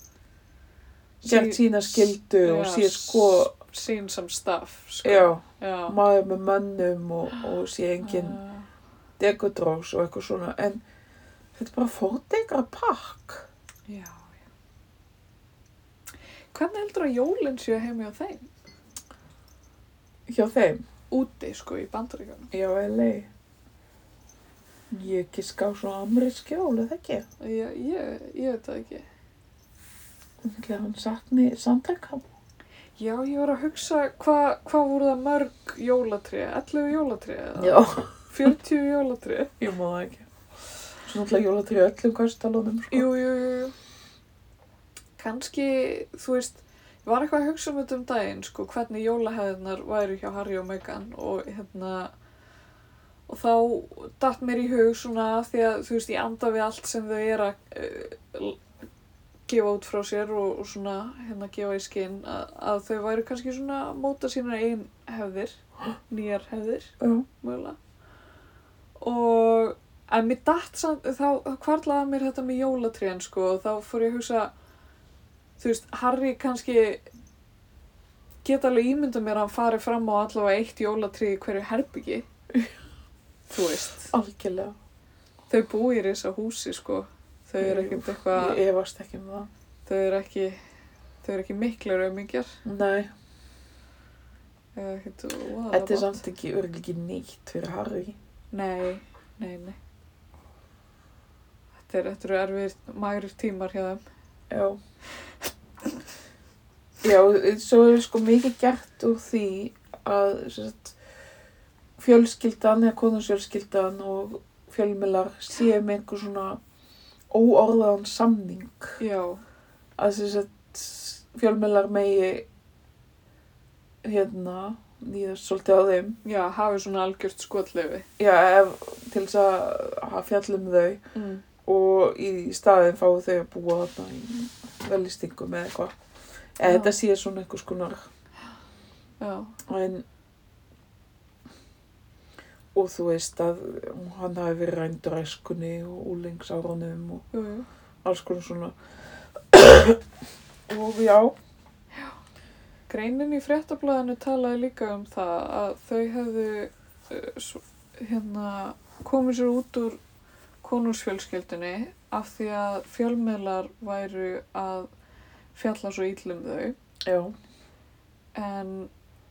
gert Sí- sína skildu og já, séð sko s- seen some stuff sko. já, já, maður með mönnum og, og séð engin Ah. degodrós og eitthvað svona en þetta er bara fórdegra pakk já, já hvernig heldur að jólinn séu heima hjá þeim? hjá þeim, úti sko í bandaríkanum já LA ég ekki ská svona amri skjól, eða ekki ég, ég, ég veit það ekki Þegar hann sakni sandaka. Já, ég var að hugsa hvað hva voru það mörg jólatré, 11 jólatré eða Já, 40 jólatré. ég má það ekki. Svo náttúrulega jólatrý öllum kastalunum, sko. Jú, jú, jú, jú. Kanski, þú veist, ég var eitthvað að hugsa um þetta um daginn, sko, hvernig jólahæðinar væri hjá Harry og Meghan og hérna, og þá datt mér í hug svona af því að, þú veist, ég anda við allt sem þau er að uh, l- gefa út frá sér og, og svona, hérna, gefa í skinn að, að þau væri kannski svona að móta sína einn hefðir, nýjar hefðir Já. mögulega og en mér datt samt, þá, þá kvarlaði mér þetta með jólatrén sko og þá fór ég að hugsa þú veist, Harry kannski geta alveg ímynda mér að hann fari fram á allavega eitt jólatré í hverju herbyggi [laughs] þú veist, Algjörlega. þau búi í þessa húsi sko, þau eru ekkert eitthvað Ég efast ekki um það. þau eru ekki þau eru ekki miklar ömingjar Nei, eða ekkert þetta er óaðalegt. samt ekki örgulega ekki neitt fyrir Harry. Nei, nei, nei. Þetta er- þetta eru erfið mægrir tímar hjá þeim. Já. Já, svo er sko mikið gert úr því að sem sagt, fjölskyldan eða konungsfjölskyldan og fjölmilar séu með einhver svona óorðaðan samning Já, að sem sagt, fjölmilar megi hérna nýðast svolítið á þeim já, hafið svona algjört skotleifi. já, ef, til þess að hafa fjallum þau Mm. og í staðin fá þau að búa þarna í velistingum eða eitthvað eða Já. þetta sé svona einhvers konar Já, en og þú veist að hann hafi verið rændur æskunni og úlengsárunum og jú, jú. alls konar svona [coughs] og já Greinin í fréttablaðinu talaði líka um það að þau hefðu uh, svo, hérna, komið sér út úr konungsfjölskyldunni af því að fjölmiðlar væru að fjalla svo ítlum þau. já, en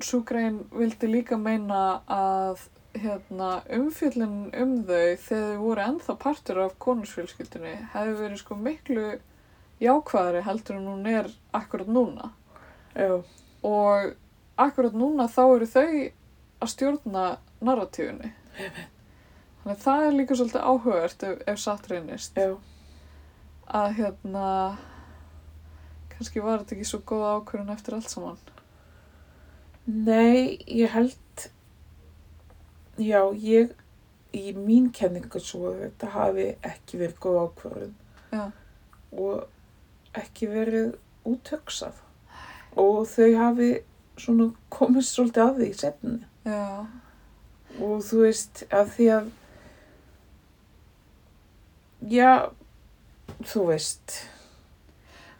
Súgrein vildi líka meina að hérna, umfjöllin um þau þegar þau voru ennþá partur af konusfjölskyldunni hefði verið sko miklu jákvæðari heldur en hún er akkurat núna já, og akkurat núna þá eru þau að stjórna narratífunni þannig að það er líka svolítið áhugavert ef, ef satt reynist já að hérna kannski var þetta ekki svo góð ákvörðun eftir allt saman nei, ég held já, ég í mín kenningu svo að þetta hafi ekki verið góð ákvörðun Já. og ekki verið útöksað og þau hafi svona komið svolítið að því í setni já, og þú veist að því að já þú veist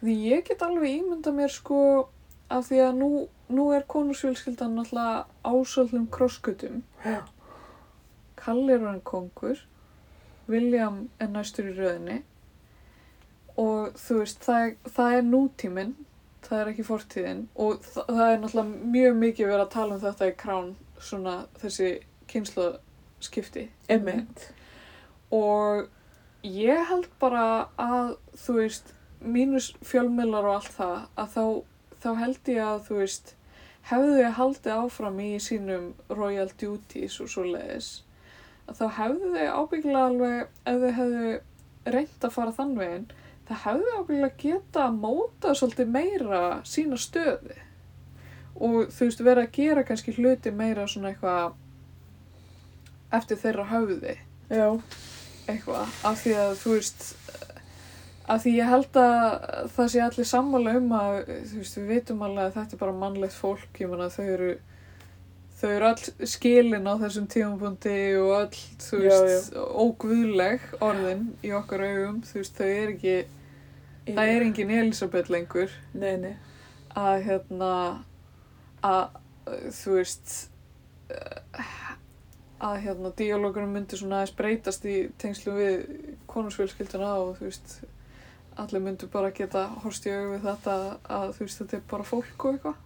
Því ég get alveg ímynda mér sko af því að nú, nú er konusfjölskyldan náttúrulega ásöldum krosskutum. Já. Kalli er hann kongur, William er næstur í röðinni og þú veist, það, er- það er nútíminn, það er ekki fortíðin og það, það er náttúrulega mjög mikið verið að tala um þetta í krán, svona þessi kynnslóðskipti emitt og ég held bara að þú veist, mínus fjölmiðlar og allt það, að þá, þá held ég að þú veist, hefðu þau haldið áfram í sínum royal duties og svoleiðis að þá hefðu þau ábyggilega alveg ef þau hefðu reynt að fara þann veginn það hefðu þau ábyggilega geta að móta svolítið meira sína stöði og þú veist vera að gera kannski hluti meira svona eitthvað eftir þeirra höfði já, eitthvað af því að þú veist eh, af því ég held að það sé allir sammála um að þú veist við vitum alveg að þetta er bara mannlegt fólk ég meina þau eru þau eru all skilin á þessum tímabundi og all þú Já, veist óguðleg orðin í okkar augum þú veist þau er ekki það er engin Elisabeth lengur nei, nei, að hérna að þú veist að hérna díalógunum myndi svona aðeins breytast í tengslu við konusfjölskylduna og þú veist allir myndu bara geta horst í augu við þetta að þú veist þetta er bara fólk og eitthvað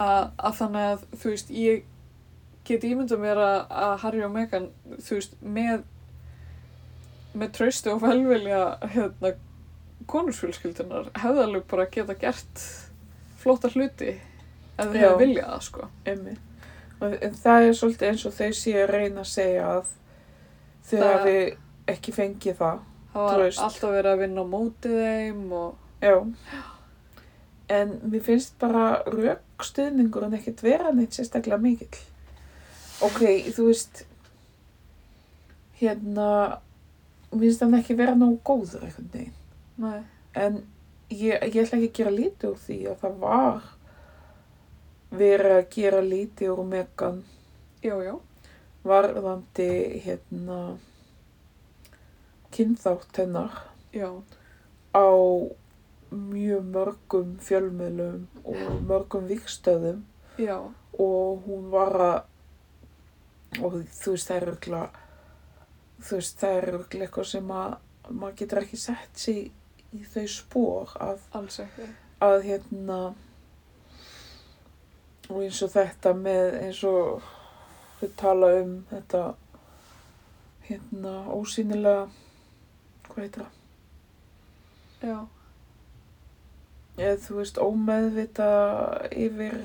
að, að þannig að þú veist ég get ímynda mér að, að Harry og Meghan þú veist með með traustu og velvilja hérna konusfjölskyldunar hefði alveg bara geta gert flóta hluti ef þau Já. hefði viljað það sko. Einmitt. En, en það er svolítið eins og þau séu að reyna að segja að þau Það- hafi ekki fengið það. Það var Traust. alltaf verið að vinna á móti þeim og Já. En mér finnst bara raukstuðningurinn ekkert vera neitt sérstaklega mikill. Ok, þú veist, hérna, mér finnst hann ekki vera nógu góður einhvern veginn. Nei. En ég, ég ætla ekki að gera lítið úr því að það var verið að gera lítið úr Megan Jú, jú. varðandi hérna kynþátt hennar Já. á mjög mörgum fjölmiðlum og mörgum vikstöðum Já. og hún var að og þú veist það er örgla þú veist það er örgla eitthvað sem að maður getur ekki sett sig í þau spór að Alls ekki. að hérna og eins og þetta með eins og þau tala um þetta hérna ósýnilega hvað heitir það? Já. Eða þú veist ómeðvita yfir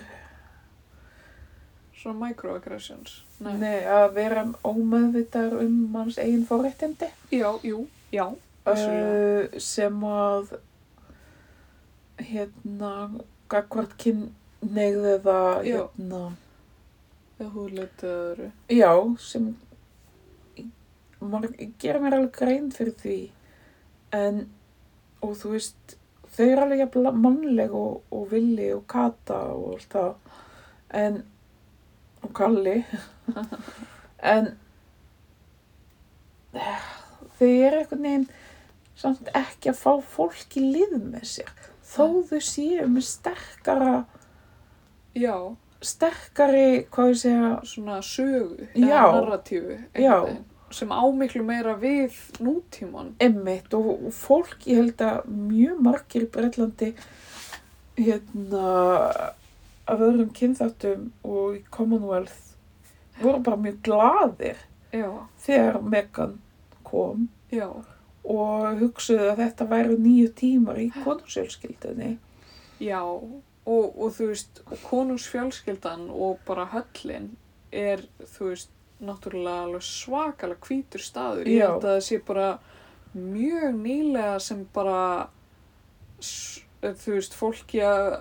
Svona microaggressions. nei. að vera ómeðvitar um manns eigin forréttindi Já, jú. Já. Vissulega. uh, sem að hérna gagvart kyn neyð eða Já. hérna Þegar húðleitið öðru. Já, sem maður gera mér alveg grein fyrir því en og þú veist þau eru alveg jafn mannleg og, og villi og kata og allt það en og kalli [laughs] en eh, þau eru einhvern veginn samt ekki að fá fólk í lið með sér þó þau séu með sterkara Já. sterkari, hvað ég segja Svona sögu. Já. eða Narratífu. einhvern Já. veginn, Sem ámiklu meira við nútíman. Emmitt og, og fólk, ég held að mjög margir í Bretlandi hérna af öðrum kynþáttum og í Commonwealth voru bara mjög gladir Já. þegar Megan kom Já. og hugsuðu að þetta væru nýju tímar í konusjölskyldunni. Já, og, og þú veist, og konungsfjölskyldan og bara höllin er, þú veist, náttúrulega alveg svakalega hvítur staður. Ég Já. held að það sé bara mjög nýlega sem bara, s- þú veist, fólki að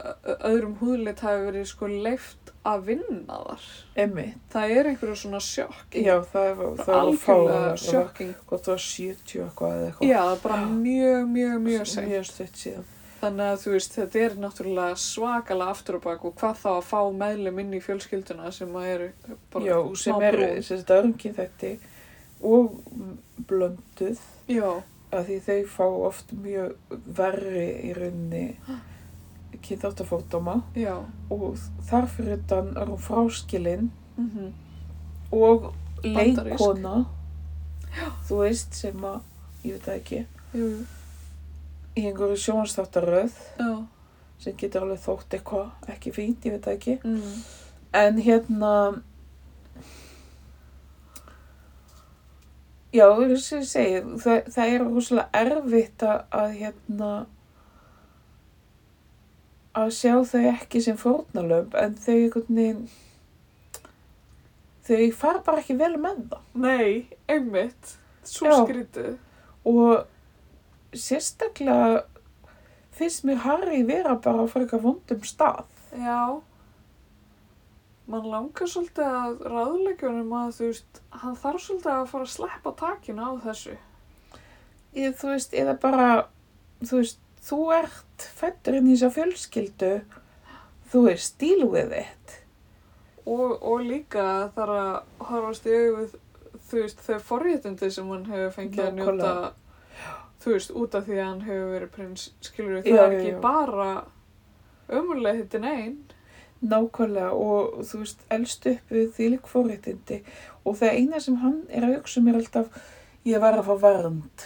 öðrum húðleitt hafi verið sko leift að vinna þar. Emmitt, Það er einhverju svona sjokk. já það var, það var algjörlega fáið, sjokking. hvort það var 70 eitthvað eða eitthvað. Já, það er bara mjög, mjög, mjög seint. Mjög stutt síðan. Þannig að þú veist, þetta er náttúrulega svakalega aftur á bak og hvað þá að fá meðlum inn í fjölskylduna sem að eru bara... já, sem smá eru, brún. sem þetta öðrum kynþætti og blönduð. Já, að því þau fá oft mjög verri í rauninni kynþáttafótdóma já, og þar fyrir utan er hún fráskilin mhm, og Bandarísk. leikona þú veist sem að ég veit það ekki jú, jú, í einhverju sjónastáttaröð já, sem getur alveg þótt eitthvað ekki fínt, ég veit það ekki mhm, en hérna já, eins og ég segi það, það er rosalega erfitt að, að hérna að sjá þau ekki sem fórnalömb en þau einhvern veginn þau fara bara ekki vel með það nei, einmitt, svo Já. skrítið, og sérstaklega finnst mér Harry vera bara á frekar vondum stað já, mann langar svolítið að ráðleikjunum að þú veist, hann þarf svolítið að fara að sleppa takinu á þessu. ég, þú veist, eða bara þú veist, þú ert fættur inn í þessa fjölskyldu þú veist, deal with it Og, og líka þar að horfast í auðvitað, þú veist, þau forréttindi sem hann hefur fengið að njóta, Nákvæmlega. þú veist, út af því að hann hefur verið prins, skilur við, Já, það er já, ekki já. bara ömurlega hittin einn. nákvæmlega og þú veist, elst upp við þvílík fórréttindi og það eina sem hann er að hugsa um er alltaf ég var að fá vernd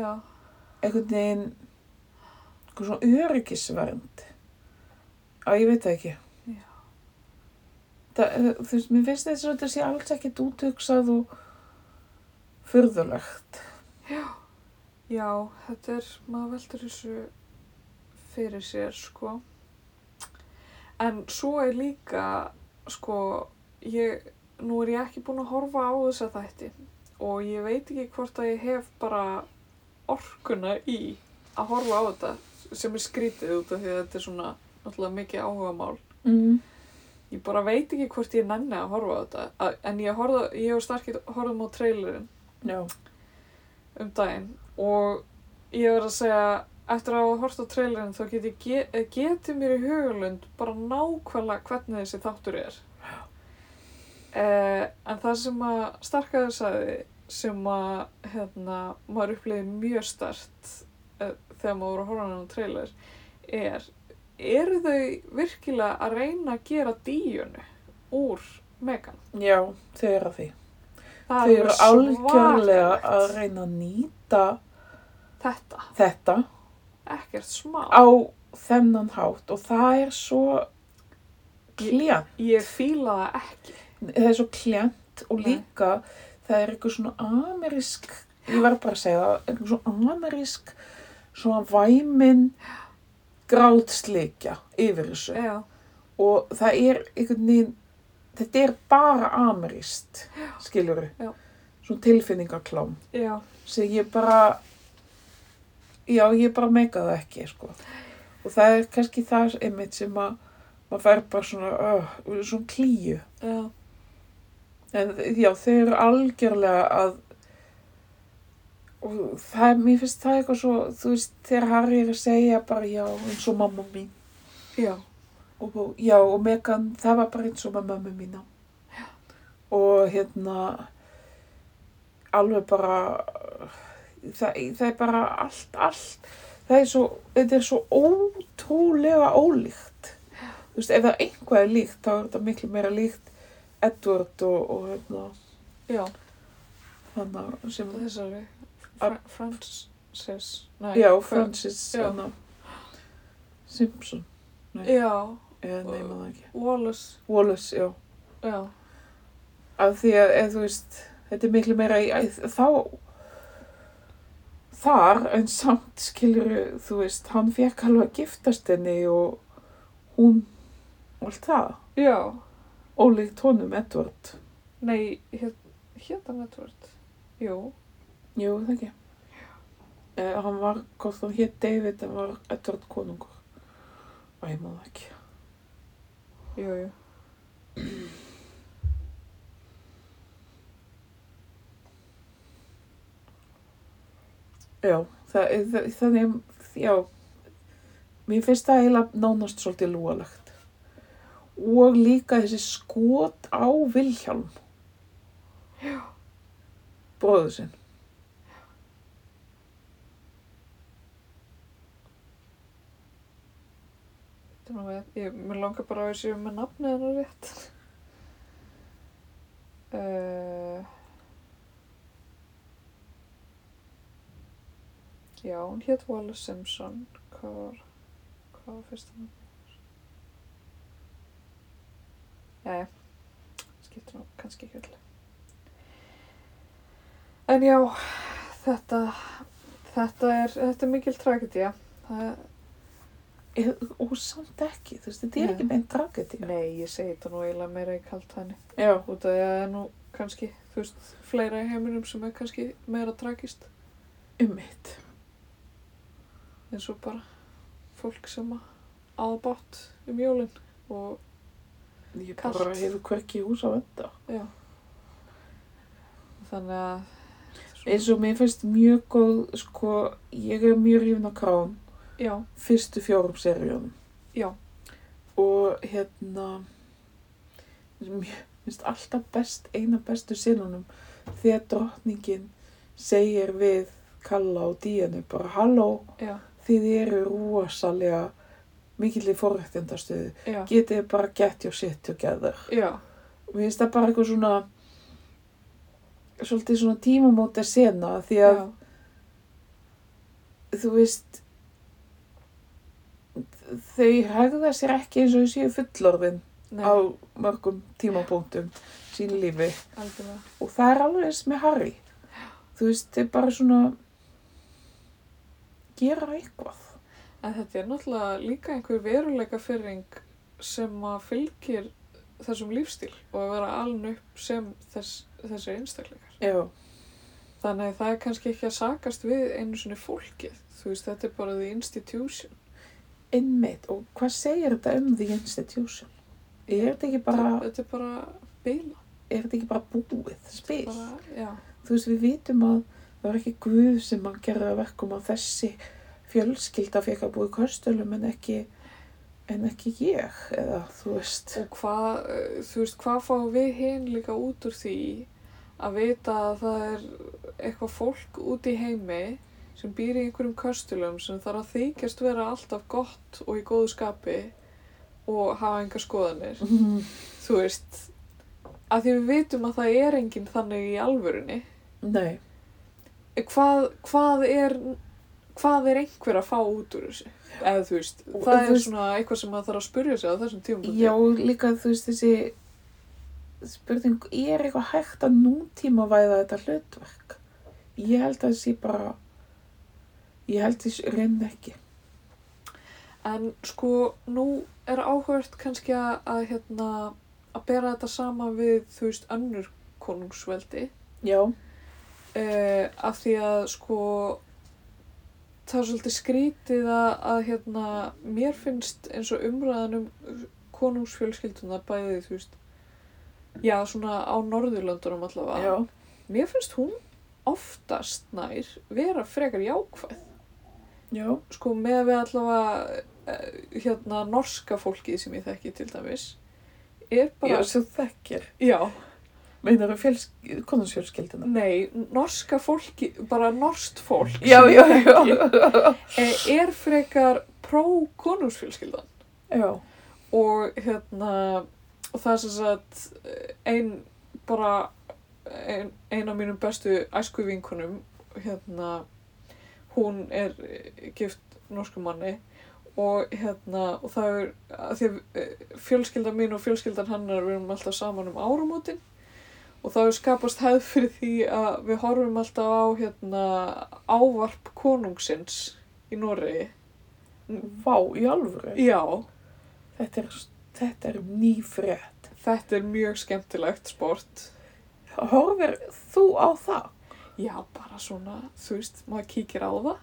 Já, einhvern veginn einhvern svona öryggisvernd að ég veit það ekki Já. það, þú veist, mér finnst þess að þetta sé alls ekkit úthugsað og furðulegt Já, þetta er, maður veldur þessu fyrir sér, sko. En svo er líka, sko, ég, nú er ég ekki búin að horfa á þessa þætti og ég veit ekki hvort að ég hef bara orkuna í að horfa á þetta sem er skrítið út af því að þetta er svona náttúrulega mikið áhugamál. Mm. Ég bara veit ekki hvort ég nenni að horfa á þetta, að, en ég, horfða, ég og starkið horfum á trailerinn Já. um daginn og ég verð að segja eftir að hafa hort á trailerinn þá geti, ge- geti mér í hugulund bara nákvæmlega hvernig þessi þáttur er eh, en það sem að starkaður sagði sem að hérna, maður upplifið mjög stert eh, þegar maður voru að horfa á hann á trailer er eru þau virkilega að reyna að gera díunu úr Megan? Já, þau eru að því. Það Þau eru alveg algjörlega að svakalegt. reyna að nýta Þetta, þetta ekkert smá. á þennan hátt og það er svo klían. Ég fíla það ekki. það er svo klent og Nei. líka það er eitthvað svona amerísk ég verð bara að segja það, eitthvað svona amerísk svona væmin grátsleikja yfir þessu Já, og það er einhvern veginn þetta er bara ameríst skilur Já. svona tilfinningaklám já, sem ég bara já, ég bara meika það ekki sko. og það er kannski það einmitt sem að maður fær bara svona, uh, svona klíu já, En já, þau eru algjörlega að og það, mér finnst það eitthvað svo, þú veist, þegar Harry er að segja bara já, eins og mamma mín já, og og- já, og Megan, það var bara eins og með mamma mína og hérna alveg bara það, það er bara allt, allt það er svo, þetta er svo ótrúlega ólíkt þú veist, ef það einhvað er líkt þá er þetta miklu meira líkt Edward og, og hérna já, þannig að sem þessari, Að- Fra- Frances, nei, já, hvað- Francis Já. hana, Simpson já, eða neyma það ekki Wallace, Wallace, já já, af því að eð, þú veist þetta er miklu meira í, að, þá þar en samt skilur þú veist hann fekk alveg að giftast henni og hún og allt það, já, ólíkt honum Edward nei, hét, hét hann Edward, jú, jú, það ekki eh, hann var, hvort hann hétt David hann var Edward konungur Æ, ég maður ekki jú, jú, Já, það, eh, það, þannig, já, mér finnst það eiginlega nánast svolítið lúalegt. Og líka þessi skot á Vilhjálm. Já. Bróðu sinn. þetta er nú með, ég, mér langar bara að þessi með nafnið hennar rétt. [laughs] Uh, já, hún hétt Wallace Simpson, hvað var, hvað var fyrsta nafnið? Jæja, skiptir nú kannski ekki öllu. En já, þetta, þetta er, þetta er mikil tragedía. Það er, Eh, Og samt ekki, þú veist, þetta er Nei. ekki beint tragedía. Nei, ég segi þetta nú eiginlega meira í kalt henni. Já, Út af því að það er nú kannski, þú veist, fleira í heiminum sem er kannski meira tragist. um mitt. En svo bara fólk sem aðbátt um jólinn og Ég Kalt. bara hefur hverki hús á þetta. já. Þannig að... Svo, Eins og mér finnst mjög góð, sko, ég er mjög rífin á krán. já, Fyrstu fjórum seríunum. já, og hérna mér finnst alltaf best eina bestu sinunum þegar drottningin segir við Kalla og Díanu bara halló já, þið eru rosalega mikill í forrættindastöðu já, getið þið bara get your shit together já, og mér finnst það bara eitthvað svona svolítið svona tímamóta sena því að já, þú veist þau hegða sér ekki eins og þau séu fullorðin nei, á mörgum tímapunktum sín lífi algjörlega, og það er alveg eins með Harry þú veist, þau bara svona gera eitthvað. En þetta er náttúrulega líka einhver veruleika fyrring sem að fylgir þessum lífstíl og að vera aln upp sem þess, þessi einstakleikar. Já, Þannig að það er kannski ekki að sakast við einu sinni fólkið. Þú veist, þetta er bara the institution. einmitt. Og hvað segir þetta um the institution? Er þetta ekki bara, Þetta- Þetta er bara bila. er þetta ekki bara búið, spil? Bara, já, Þú veist, við vitum að það var ekki Guð sem að gera það að verkum að þessi fjölskylda fekk að búið kostölum en ekki, en ekki ég, eða þú veist. og hvað, eh, þú veist, hvað fáum við hinn líka út úr því að vita að það er eitthvað fólk út í heimi sem býr í einhverjum köstulum sem þarf að þykjast vera alltaf gott og í góðu skapi og hafa enga skoðanir, Mm, þú veist, að því við vitum að það er enginn þannig í alvörunni, nei, Eh, hvað, hvað er, hvað er einhver að fá út úr þessu? Eða þú veist, Og- það og þú er veist- svona eitthvað sem maður þarf að spurja sig á þessum tímum. já, líka þú veist þessi spurning, er eitthvað hægt að nútíma væða þetta hlutverk? Ég held að það sé bara, ég held þessi raun ekki. En sko, nú er áhört kannski að, að hérna, að bera þetta sama við, þú veist, önnur konungsveldi, Já, eh, af því að, sko, það er svolítið skrítið að, að, hérna, mér finnst eins og umræðan um konungsfjölskylduna bæði, þú veist, já, svona á Norðurlöndunum allavega. já, Mér finnst hún oftast nær vera frekar jákvæð já, sko með við allavega eh, hérna norska fólkið sem ég þekki til dæmis er bara, já, svo þekkir. já, Meinar þú fjölsk- konungsfjölskyldina? nei norska fólki, bara norskt fólk sem Já, ég já, þekki, já. eh, er frekar pró-konungsfjölskyldan Já, og hérna og það er sem sagt eh, ein bara ein, ein af mínum bestu æsku vinkunum hérna hún er eh, gift norskum manni og hérna og það er að því að eh, fjölskyldan mín og fjölskyldan hennar við erum alltaf saman um árumótin og það er skapast hefð fyrir því að við horfum alltaf á hérna ávarp konungsins í Noregi vá, í alvöru. já Þetta er, þetta er ný frétt. Þetta er mjög skemmtilegt sport. Horfir þú á það? Já, bara svona, þú veist, maður kíkir á það.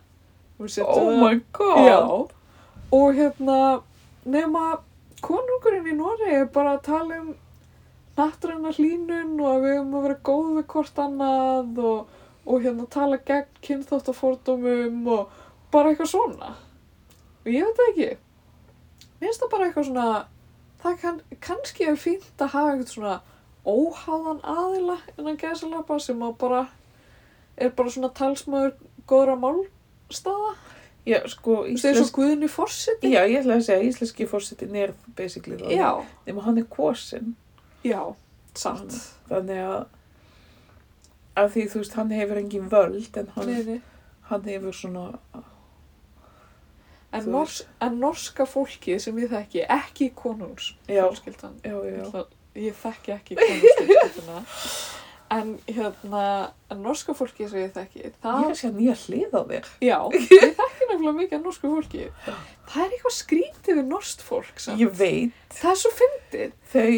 Við setjum Oh my god. Já. Og hérna, nema konungurinn í Noregi er bara að tala um nattræna hlínun og að við höfum að vera góð við hvort annað og, og hérna tala gegn kynþáttafordómum og bara eitthvað svona. Og ég veit það ekki. Mér finnst það bara eitthvað svona, það kann, kannski er fínt að hafa eitthvað svona óháðan aðila innan gæsalapa sem að bara er bara svona talsmaður góðra málstaða. Já, sko, Það er svo íslensk... Guðni Fossetti? Já, ég ætla að segja, íslenski fórsetin er basically það. já, Nefnum hann er kosin. já, satt. Þannig að, að því þú veist, hann hefur engin völd en hann, Nei, nei. hann hefur svona, En, Þú nors, en norska fólkið sem ég þekki, ekki konungs Já. fjölskyldan. já, já, Ég ætla- Ég þekki [laughs] ekki konungsfjölskylduna. en hérna, en norska fólkið sem ég þekki, það, Ég er að segja nýja hlið á þér. já, ég þekki nefnilega mikið af norsku fólki. Það er eitthvað skrítið við norskt fólk, samt. Ég veit, Það er svo fyndið. þau,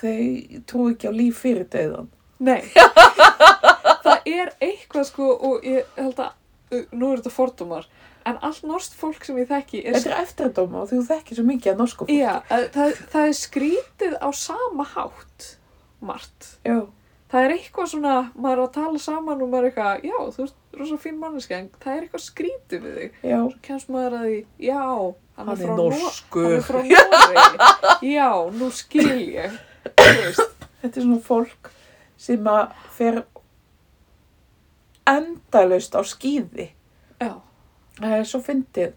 þau trú ekki á líf fyrir döðan. [laughs] Nei. það er eitthvað sko og ég held að, uh, nú eru þetta fordómar, en allt norst fólk sem ég þekki er Þetta er eftirdóma og þú þekkir svo mikið að norsku fólki. Já, að það, það er skrítið á sama hátt, margt. Já. Það er eitthvað svona, maður er að tala saman og maður er eitthvað, já, þú ert rosa fín manneskja, en það er eitthvað skrítið við þig. Já, Svo kemst maður að því, já, hann, hann er frá er Nor- norskur. Hann er frá Noregi. já, nú skil [coughs] ég. Þú veist, Þetta er svona fólk sem að fer endalaust á skýði. já. Það er svo fyndið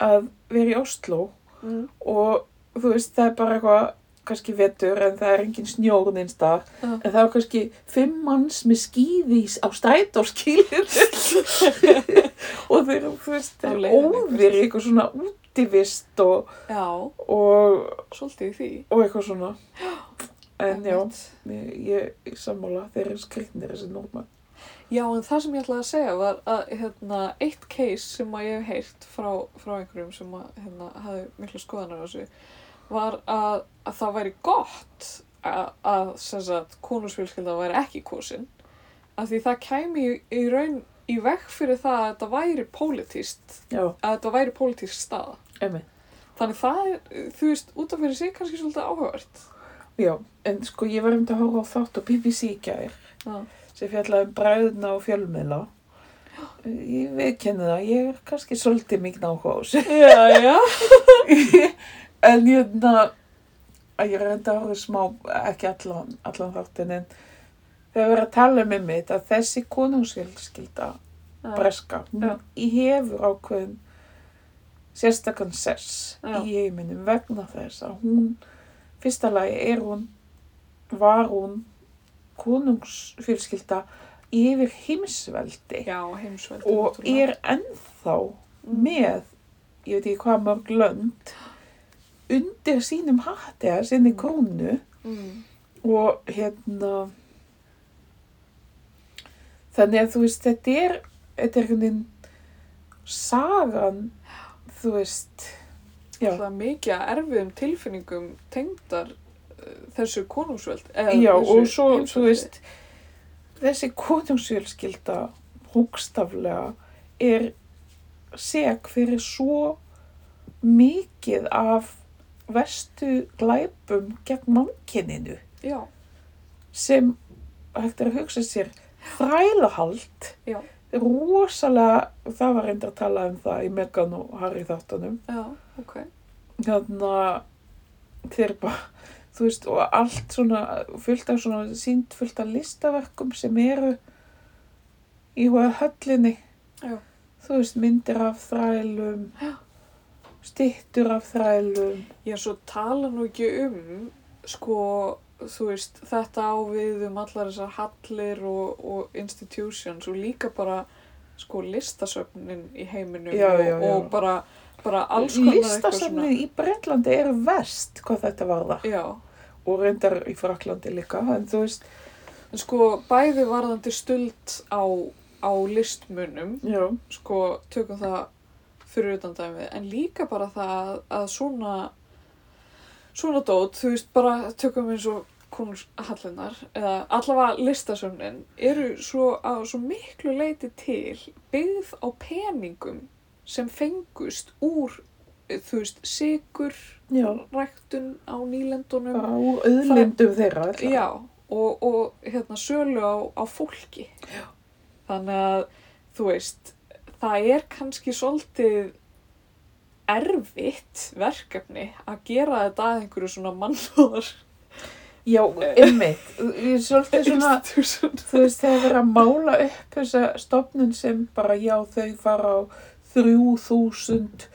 að vera í Oslo Mm. og þú veist það er bara eitthvað kannski vetur en það er engin snjór neins þar Já. en það er kannski fimm manns með skýði á strætóskýlinu [laughs] og þeir eru, þú veist, Á þeir leiðinni óðir í eitthvað svona útivist og, Já, og, svolítið í því. og eitthvað svona en já, Einmitt. ég, ég sammála þeir eru skriknir þessi normann Já, en það sem ég ætlaði að segja var að hérna, eitt case sem að ég hef heyrt frá, frá einhverjum sem að, hérna, hafði mikla skoðanar á þessu var að, að það væri gott að, að sem sagt, konusfjölskylda væri ekki kosin af því það kæmi í, í raun í veg fyrir það að þetta væri pólitíst Já, að þetta væri pólitísk staða emmi. þannig það er, þú veist, út af fyrir sig kannski svolítið áhugavert Já, en sko ég var um þetta að horfa á þátt á BBC í gær Já. sem fjallaði um bræðuna og fjölmiðla. Ég vekenni það, ég er kannski svolítið mikið áhuga á þessu. Já, já [laughs] en hérna, að ég reynda að horfa smá, ekki allan, allan þáttin, en þegar við erum að tala um einmitt að þessi konungsfjölskylda breska, hún Já. hefur ákveðin sérstakann sess Já. í heiminum vegna þess að hún fyrsta lagi er hún var hún konungsfjölskylda yfir heimsveldi Já, heimsveldi og náttúrulega. Mhm. er ennþá með ég veit ekki hvað mörg lönd undir sínum hatti eða Mhm. sinni krónu mm. og hérna þannig að þú veist þetta er þetta er einhvern veginn sagan þú veist Já. alltaf mikið af erfiðum tilfinningum tengdar uh, þessu konungsvöld já og svo þú veist þessi konungsfjölskylda hókstaflega er seg fyrir svo mikið af vestu glæpum gegn mannkininu já, sem hægt er að hugsa sér þrælahald Já. rosalega, það var reyndar að tala um það í Megan og Harry þáttunum já, ok þannig að þeir bara þú veist, og allt svona fullt af svona sínt fullt af listaverkum sem eru í hóða höllinni Já. þú veist, myndir af þrælum styttur af þrælum já, svo tala nú ekki um sko, þú veist þetta á við um allar þessar hallir og, og institutions og líka bara sko listasöfnin í heiminum Já, og, já, já. og bara, bara alls konar eitthvað svona- listasafnið í Bretlandi eru verst hvað þetta var það já, og reyndar í Fraklandi líka en þú veist, en sko bæði varðandi stuld á, á listmunum já, sko, tökum það fyrir utan dæmið, en líka bara það að- að svona svona dót, þú veist, bara tökum eins og konungshallinnar eða allavega listasöfnin eru svo að svo miklu leiti til byggð á peningum sem fengust úr eh, þú veist, sigur já ræktun á nýlendunum bara úr auðlindum þeirra allavega. Já, og, og hérna sölu á, á fólki. Já. Þannig að, þú veist, það er kannski svolítið erfitt verkefni að gera þetta að einhverju svona mannlóðar. já, einmitt ég er svolítið svona, Svona, þú veist, þegar verið að mála upp þessa stofnun sem bara já, þau fara á 3000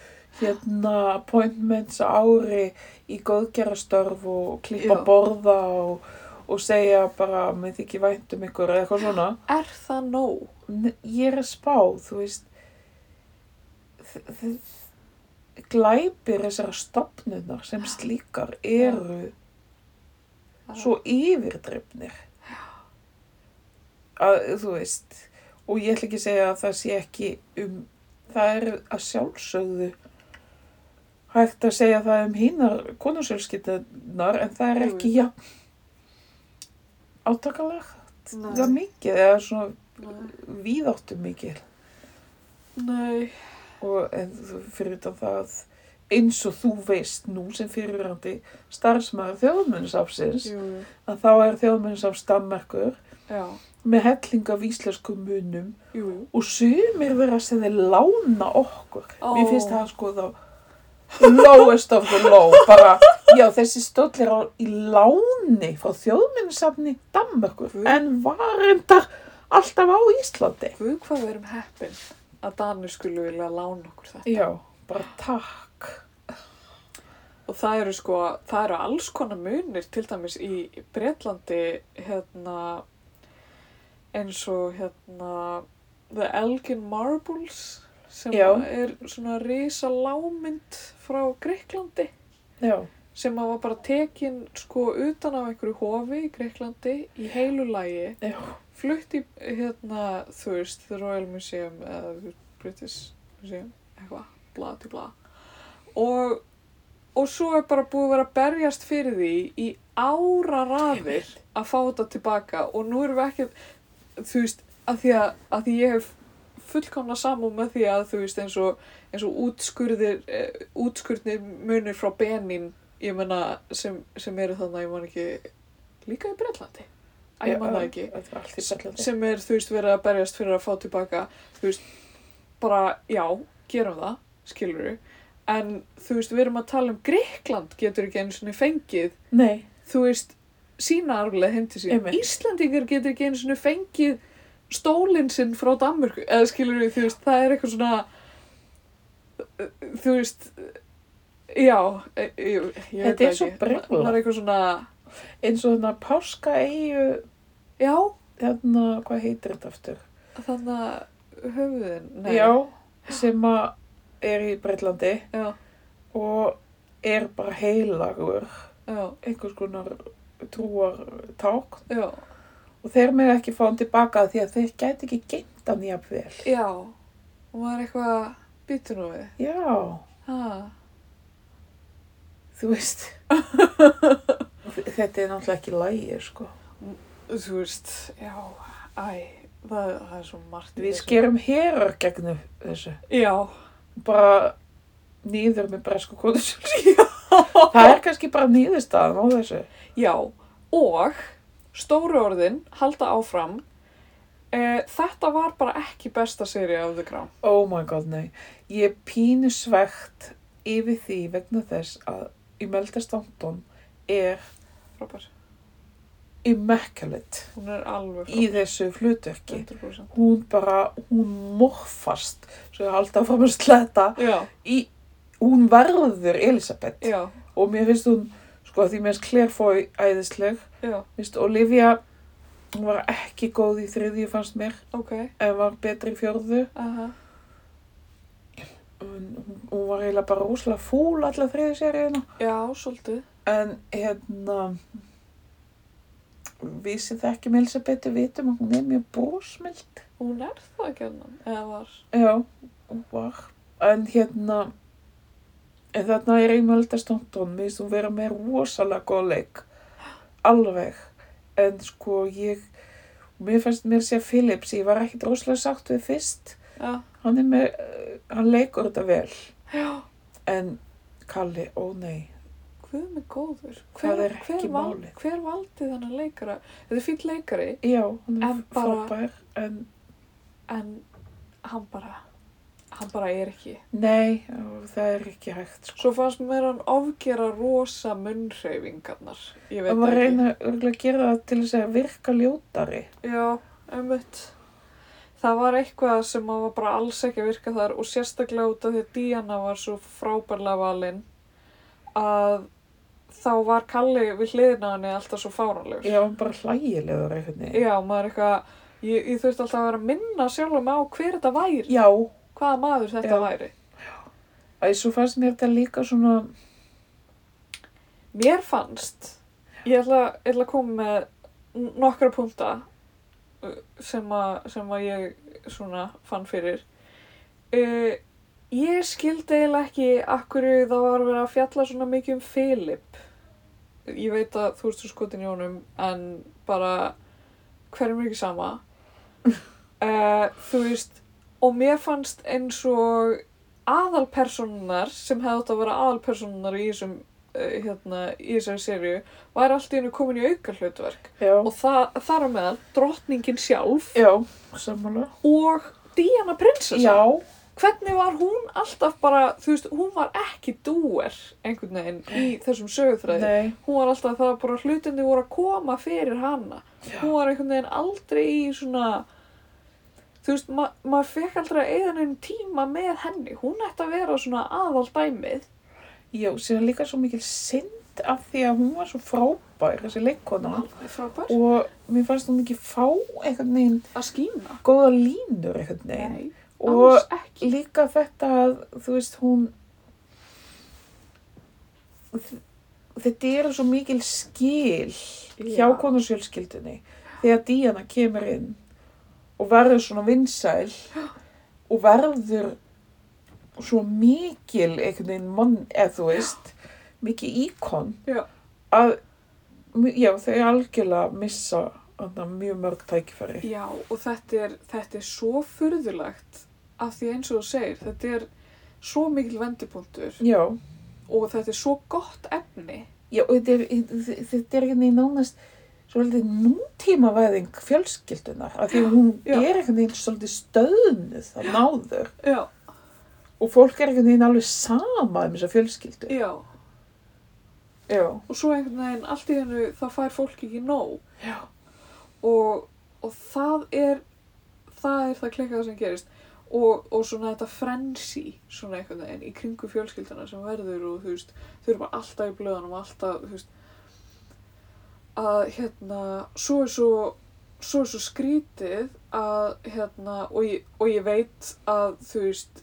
hérna appointments á ári í góðgerastörf og klippa Já. borða og, og segja bara, með þykir vænt um ykkur eða eitthvað svona er það nóg? N- ég er að spá, þú veist þ- þ- glæpir þessara stopnunar sem slíkar eru svo yfirdrefnir að þú veist og ég ætla ekki að segja að það sé ekki um það er að sjálfsögðu hægt að segja það um hinar konusjölskyldunar en það er Jú, jú. ekki jafn átakalegt það Nei. mikið eða svona Nei. víðáttum mikil Nei. og en, þú- fyrir utan það eins og þú veist nú sem fyrirrandi starfsmaður þjóðmunnsafsins Jú, jú. að þá er þjóðmunnsafs Danmarkur Já, með helling af íslenskum munum jú, jú. og sumir vera sem þeir lána okkur Ó. mér finnst það sko þá lowest of the low bara, já þessi stóll er á í láni frá þjóðmunnsafni Danmarkur Guð. en var reyndar alltaf á Íslandi Guð hvað við erum heppin að Danir skulu vilja lána okkur þetta. já, bara takk Og það eru sko, það eru alls konar munir til dæmis í Bretlandi hérna eins og hérna The Elgin Marbles sem Já. er svona risa lámynd frá Greiklandi já sem að var bara tekin sko utan af einhverju hofi í Greiklandi í heilu lagi Já. flutt í hérna, þú veist, The Royal Museum eða the British Museum, eitthvað, bla, til bla. Og, og svo er bara búið að vera að berjast fyrir því í ára rafir að fá þetta tilbaka og nú erum við ekki, þú veist, að því að, að því ég hef fullkomna samúð með því að þú veist eins og, eins og útskurðir, eh, útskurðir munir frá Benin, ég menna, sem, sem eru þannig, ég man ekki, líka í Bretlandi. Æ, ég man það ekki Þetta var allt í sallandi. sem er, þú veist, verið að berjast fyrir að fá tilbaka, þú veist, bara, já, gerum það, skilur við, en, þú veist, við erum að tala um Greikland getur ekki einu sinni fengið, Nei, þú veist, sína arflega heim til sín. Einmitt. Íslandingar getur ekki einu sinni fengið stólinn sinn frá Danmörku, eða skilur við, þú veist, það er eitthvað svona, þú veist, já, ég, ég, ég veit Þetta er það svo ekki. brjálað. Það er eitthvað svona, eins og þarna páska eigu, já, þarna, hvað heitir þetta aftur? þannig að höfuðin, nei, Já, sem að er í Breitlandi já, og er bara heilagur, já. einhvers konar trúar tákn Já, og þeir með ekki fá hann tilbaka af því að þeir gæti ekki geimt hann jafnvel. já, og maður eitthvað býtur nú við. Já, Ha, þú [laughs] veist, þetta er náttúrulega ekki lægi, sko. þú veist, já, æ, það, það er svo margt. í Við þessu. skerum herar gegnum þessu, Já, bara nýður með bresku [laughs] kóðusjóls. Það er kannski bara nýðurstaðan á þessu. já, og stóru orðin, halda áfram, e, þetta var bara ekki besta séri af The Crown. Oh my god, nei. Ég er pínu svegt yfir því vegna þess að Imelda Stanton er Frábær, immaculate hún er alveg í frábær. þessu hlutverki. 100%. Hún bara, hún morfast, svo ég haldi áfram að sletta, Já, í, hún verður Elisabeth. já, Og mér finnst hún, sko, því mér finnst Claire Foy æðisleg, já, finnst Olivia, hún var ekki góð í þriðju fannst mér, ok, en var betri í fjórðu. aha, Hún, hún- hún var eiginlega bara rosalega fúl alla þriðju seríuna. já, svolítið, En hérna, við sem þekkjum Elisabethu um vitum að hún er mjög bósmild. hún er það ekki annan, eða var, Já, hún var. En hérna, en þarna er einmölda stóndun, mér finnst hún vera með rosalega góð leik. Alveg. En sko, ég, mér fannst mér sé Phillips, ég var ekkit rosalega sátt við fyrst. já, Hann er með, eh, hann leikur þetta vel. já. En Kalli, ó nei, Guð með góður. Það er ekki málið. Hver valdi þannig leikara? Þetta er fýll leikari, já, hann er En bara- frábær, en en hann bara, hann bara er ekki. Nei, og það er ekki hægt sko. Svo fannst mér hann ofgera rosa munnreyfingarnar. Ég veit Það var að það ekki. reyna örugglega að gera það til þess að virka ljótari. Já, ummitt. Það var eitthvað sem að var bara alls ekki að virka þar og sérstaklega út af því að Diana var svo frábærlega valinn að þá var Kalli við hliðina á henni alltaf svo fáranlegur. Já, hann bara hlægilegur einhvern veginn. Já, maður eitthvað, ég, ég þurfti alltaf að vera að minna sjálfum á hver þetta væri, Já, hvaða maður þetta Já. væri. æ, svo fannst mér þetta líka svona, Mér fannst, ég ætla, ég ætla að koma með nokkra punta sem, að- sem að ég svona fann fyrir. Uh, ég skildi eiginlega ekki akkur það var verið að fjalla svona mikið um Filip. Ég veit að þú erstu skotin í honum en bara hverjum er ekki sama. Uh, þú veist, og mér fannst eins og aðalpersonunar sem hefði átt að vera aðalpersonunar í þessum eh, hérna, í þessari sériu var allt í hennu komin í auka hlutverk já, og það, þar á meðal drottningin sjálf já, sammála. og Diana prinsessa Já, hvernig var hún alltaf bara þú veist, hún var ekki dúer einhvern veginn í þessum sögurþræði nei, hún var alltaf það bara hlutinni voru að koma fyrir hana hún var einhvern veginn aldrei í svona þú veist, ma maður fekk aldrei að eða nefnum tíma með henni hún ætti að vera svona aðaldæmið já, síðan líka svo mikil synd af því að hún var svo frábær, þessi leikona. alveg frábær Og mér fannst hún ekki fá einhvern veginn að skína góða línur einhvern veginn. Og alls ekki líka þetta að þú veist hún þetta eru svo mikil skil hjá Já. konusjölskyldunni þegar Díana kemur inn og verður svona vinsæl og verður svo mikil einhvern veginn mann, eða þú veist, mikið íkon Já. að, já, þau algjörlega missa þarna mjög mörg tækifæri. Já, og þetta er, þetta er svo furðulegt af því eins og þú segir, þetta er svo mikil vendipunktur Já, og þetta er svo gott efni. já, og þetta er, þetta er einhvern veginn nánast svolítið nútímavæðing fjölskyldunar, af því að hún Já. er einhvern veginn svolítið stöðnuð að náður Já, og fólk er einhvern veginn alveg sama um þessa fjölskyldu. já. Já, Og svo einhvern veginn allt í hennu þá fær fólk ekki nóg. Já. Og, og það er það er það klikkað sem gerist. Og, og svona þetta frensi svona einhvern veginn í kringu fjölskyldana sem verður og þú veist, þau eru bara alltaf í blöðunum og alltaf, þú veist að hérna svo er svo svo er svo skrítið að hérna, og ég, og ég veit að þú veist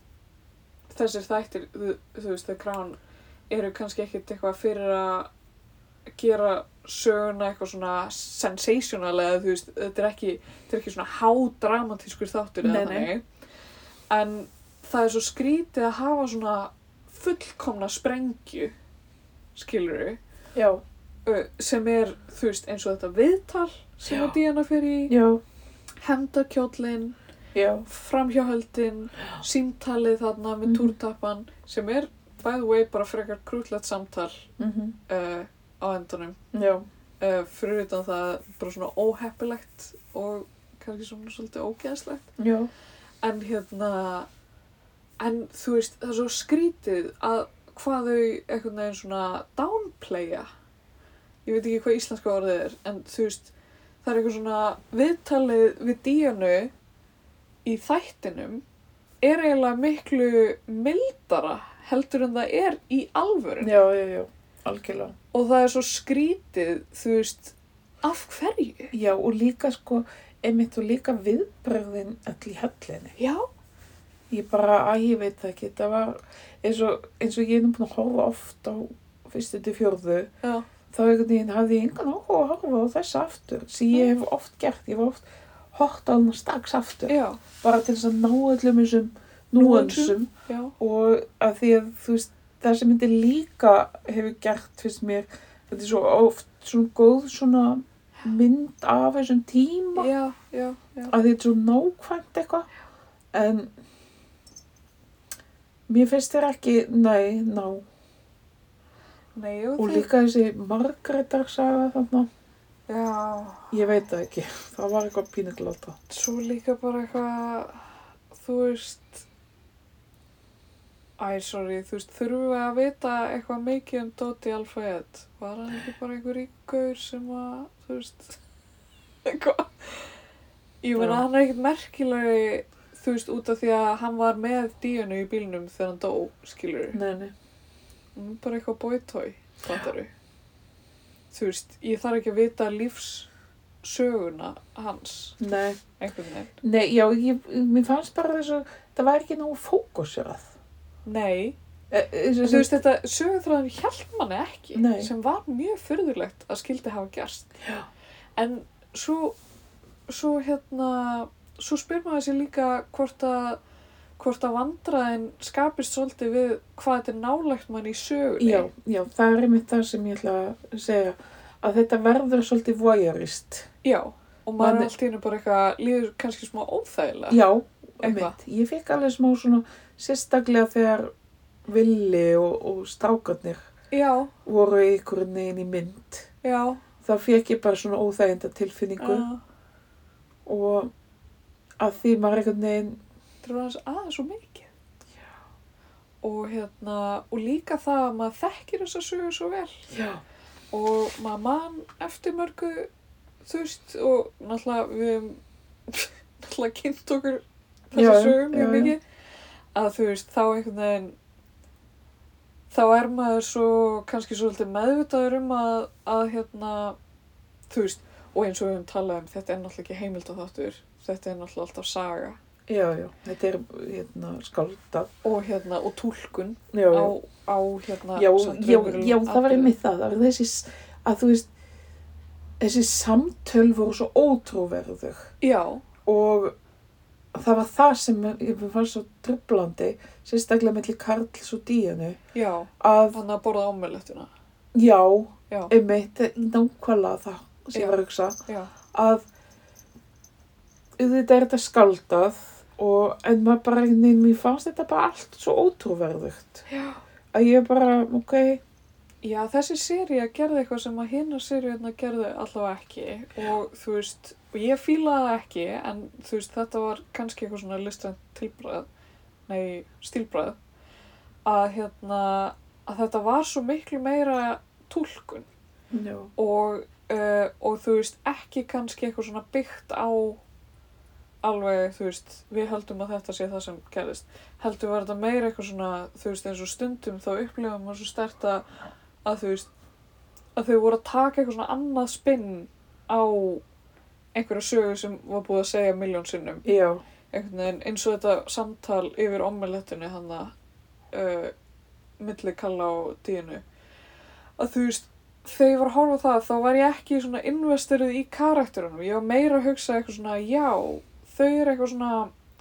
þessir þættir, þú, þú veist, The Crown eru kannski ekkit eitthvað fyrir að gera söguna eitthvað svona sensational eða þú veist, þetta er ekki, þetta er ekki svona hádramatískur þáttur eða Nei, nei. þannig en það er svo skrítið að hafa svona fullkomna sprengju skilur já, sem er, þú veist, eins og þetta viðtal sem Já. að Diana fer í já, hendakjólinn, já. framhjáhöldin símtalið þarna með Mhm. túrtappan sem er, by the way, bara frekar krútlegt samtal Mm uh, á endanum Já, uh, fyrir utan það bara svona óheppilegt og kannski svona svolítið ógeðslegt já, en hérna en þú veist, það er svo skrítið að hvað þau einhvern veginn svona downplaya ég veit ekki hvað íslenska orðið er en þú veist, það er eitthvað svona viðtalið við díjanu í þættinum er eiginlega miklu mildara heldur en það er í alvörun já, já, já, algjörlega. og það er svo skrítið þú veist, af hverju Já, og líka sko, einmitt og líka viðbrögðin öll í hellinni. já, Ég bara, að ég veit það ekki, þetta var eins og, eins og ég er nú búin að horfa oft á fyrstu til fjórðu, já, þá einhvern veginn hafði ég engan áhuga á að horfa á þess aftur, sem ég hef oft gert, ég hef oft hort á hana strax aftur, já, bara til þess að ná öllum þessum núansum já. og að því að þú veist það sem myndi líka hefur gert finnst mér, þetta er svo oft svona góð svona mynd af þessum tíma já, já, já. að þetta er svo nákvæmt eitthvað en mér finnst þér ekki, nei, ná Nei, og, og þeir- líka þessi margrétarsaga þarna, já, ég veit það ekki [laughs] það var eitthvað pínuglata svo líka bara eitthvað þú veist æ, sorry, þú veist þurfum við að vita eitthvað mikið um Dóti Alfayet var hann ekki bara einhver ykkur sem að þú veist [laughs] eitthvað ég meina Já. hann er ekkert merkilegi þú veist út af því að hann var með díunu í bílnum þegar hann dó skilur nei, nei, Hún er bara eitthvað bóitói, fattaru. Þú veist, ég þarf ekki að vita lífssöguna hans, nei, einhvern veginn. nei já, ég, mér fannst bara þessu það var ekki nógu fókusirað Nei, e, e, þú veist, þetta sögurþráðin hjælt manni ekki, Nei. sem var mjög furðulegt að skildi hafa gerst. Já. En svo, svo hérna, svo spyr maður sér líka hvort að, hvort að vandraðin skapist svolítið við hvað þetta er nálægt manni í sögunni. Já, já, það er einmitt það sem ég ætla að segja að þetta verður svolítið voyeurist. Já, og maður Manni- er allt í hennu bara eitthvað, líður kannski smá óþægilega. Já, Eitthvað. einmitt. Ég fekk alveg smá svona sérstaklega þegar villi og, og strákarnir Já, voru í einhverjum neginn í mynd. já, Þá fekk ég bara svona óþæginda tilfinningu uh, og að því maður einhvern veginn, það var aðeins aðeins svo mikið. Og hérna, og líka það að maður þekkir þessa sögur svo vel já, og maður mann eftir mörgu þú veist og náttúrulega við höfum [laughs] náttúrulega kynnt okkur Já, þessa já, sögur já, mjög já. mikið að þú veist þá einhvern veginn þá er maður svo kannski svolítið meðvitaður um að, að hérna þú veist og eins og við höfum talað um þetta er náttúrulega ekki heimildaþáttur þetta er náttúrulega alltaf saga já, já, þetta er hérna skáldað. og hérna og túlkun Já, á, já. á hérna já, samt já, raunverulegum já, það var atburðum. einmitt það, það var þessi s- að þú veist þessi samtöl voru svo ótrúverðug Já, og það var það sem ég mér fannst svo trublandi, sérstaklega mellir Karls og Díanu, já, að þannig að borða ámelettuna. já, Já, einmitt, nákvæmlega það sem ég var að hugsa, já, að auðvitað er þetta skaldað og en maður bara einhvern veginn, mér fannst þetta bara allt svo ótrúverðugt já. að ég bara, ok, Já, þessi sería gerði eitthvað sem að hinna seríuna gerði allavega ekki og þú veist, og ég fílaði það ekki en þú veist, þetta var kannski eitthvað svona listrænt tilbræð nei, stílbræð að hérna, að þetta var svo miklu meira túlkun já, og, uh, og þú veist, ekki kannski eitthvað svona byggt á alveg, þú veist, við heldum að þetta sé það sem gerðist. Heldur var þetta meira eitthvað svona, þú veist, eins og stundum þá upplifum maður svo stert að, að þú veist, að þau voru að taka eitthvað svona annað spinn á einhverja sögu sem var búið að segja miljón sinnum já, einhvern veginn eins og þetta samtal yfir omelettinu hann að uh, milli kalla á díinu að þú veist þegar ég var að horfa á það þá var ég ekki svona investerið í karakterunum ég var meira að hugsa eitthvað svona já þau eru eitthvað svona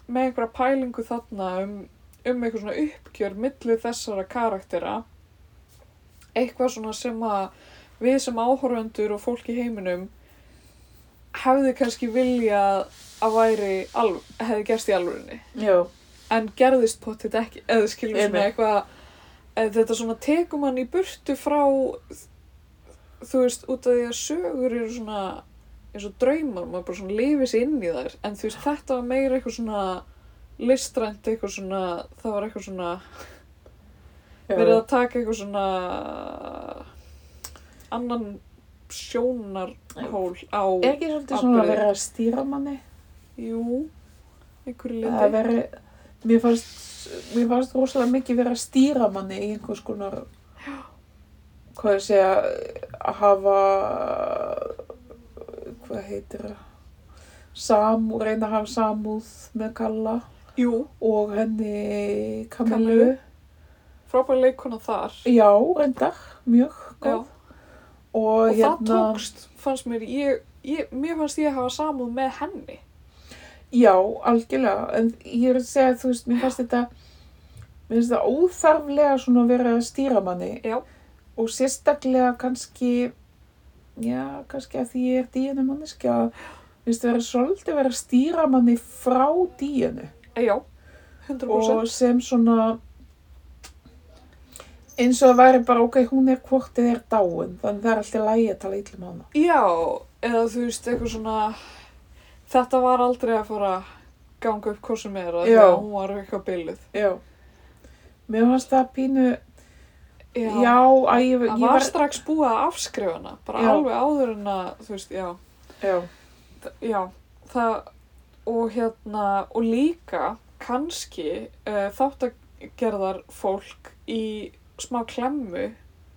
með einhverja pælingu þarna um, um eitthvað svona uppgjör milli þessara karaktera eitthvað svona sem að við sem áhorfendur og fólk í heiminum hefði kannski viljað að væri alv hefði gerst í alvörinni já, en gerðist pottit ekki eða skilur svona Einmitt. eitthvað eða þetta svona tekum hann í burtu frá þú veist út af því að sögur eru svona eins og draumar, maður bara svona lifið sér inn í þær en þú veist þetta var meira eitthvað svona listrænt eitthvað svona það var eitthvað svona já, verið að taka eitthvað svona annan sjónarhól á Er ekki svolítið svona að Atburði. vera að stýra manni? jú Að einhverju liti vera, mér fannst, mér fannst rosalega mikið vera að stýra manni í einhvers konar, hvað ég segja, að hafa, hvað heitir það, samú, reyna að hafa samúð með Kalla jú, og henni Kamilu. Kamilu. frábær leikona þar Já, reyndar, mjög Já, góð. hérna- Og, og það tókst, fannst mér, ég, ég, mér fannst ég hafa samúð með henni. Já, algjörlega, en ég er að segja að þú veist, mér fannst þetta, mér finnst þetta óþarflega svona að vera að stýra manni Já, og sérstaklega kannski, já, kannski að því ég er díinu manneskja, mér finnst þetta vera svolítið vera að stýra manni frá díinu e, já, 100%. og sem svona, eins og það væri bara, ok, hún er hvort eða er dáin, þannig það er alltaf lægi að tala illum hana. Já, eða þú veist, eitthvað svona, þetta var aldrei að fara að ganga upp korsum með þeirra Já. þegar hún var eitthvað bylluð. Já. Mér fannst það pínu, Já, já, já æ, ég, það ég var strax búið að afskrifa hana, bara Já. alveg áður en að, þú veist, já. já, já, það og hérna, og líka kannski uh, þáttagerðar fólk í smá klemmu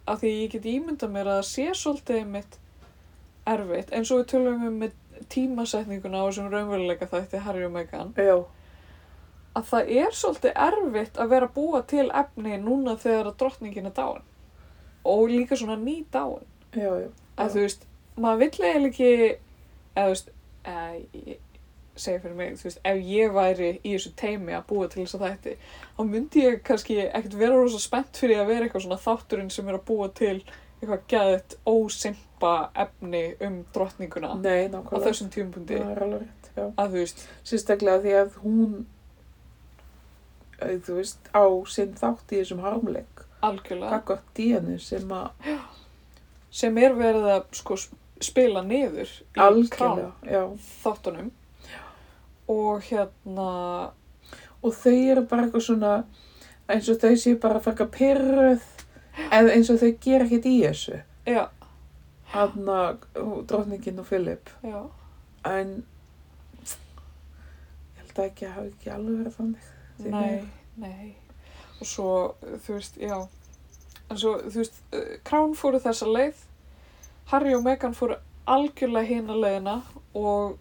af því ég get ímynda mér að það sé svolítið mitt erfitt eins og við tölum um með tímasetninguna á þessum raunveruleika þætti Harry og Meghan já. að það er svolítið erfitt að vera að búa til efni núna þegar að drottningin er dáin og líka svona ný dáin Já, já. að Já. þú veist, maður vill eiginlega ekki eða þú veist eða, ég segja fyrir mig, þú veist, ef ég væri í þessu teimi að búa til þess að þætti þá myndi ég kannski ekkert vera rosa spennt fyrir að vera eitthvað svona þátturinn sem er að búa til eitthvað geðið ósimpa efni um drottninguna Nei, á nákvæmlega. þessum tímapunkti Það er alveg rétt, já. að þú veist, Sérstaklega því að hún, eh, þú veist, á sinn þátt í þessum harmleik. algjörlega Kakvart díðinu sem að sem er verið að sko spila niður í algjörlega, já. þáttunum og hérna Og þau eru bara eitthvað svona, eins og þau séu bara að fækka pyrruð, eða eins og þau gera ekkert í þessu. já, Hanna, drotningin og Filip. já En ég held að ekki að hafa ekki alveg verið þannig. því Nei, nei. Og svo, eh, þú veist, já. En svo, þú veist, eh, Crown fóru þessa leið, Harry og Meghan fóru algjörlega hina leiðina og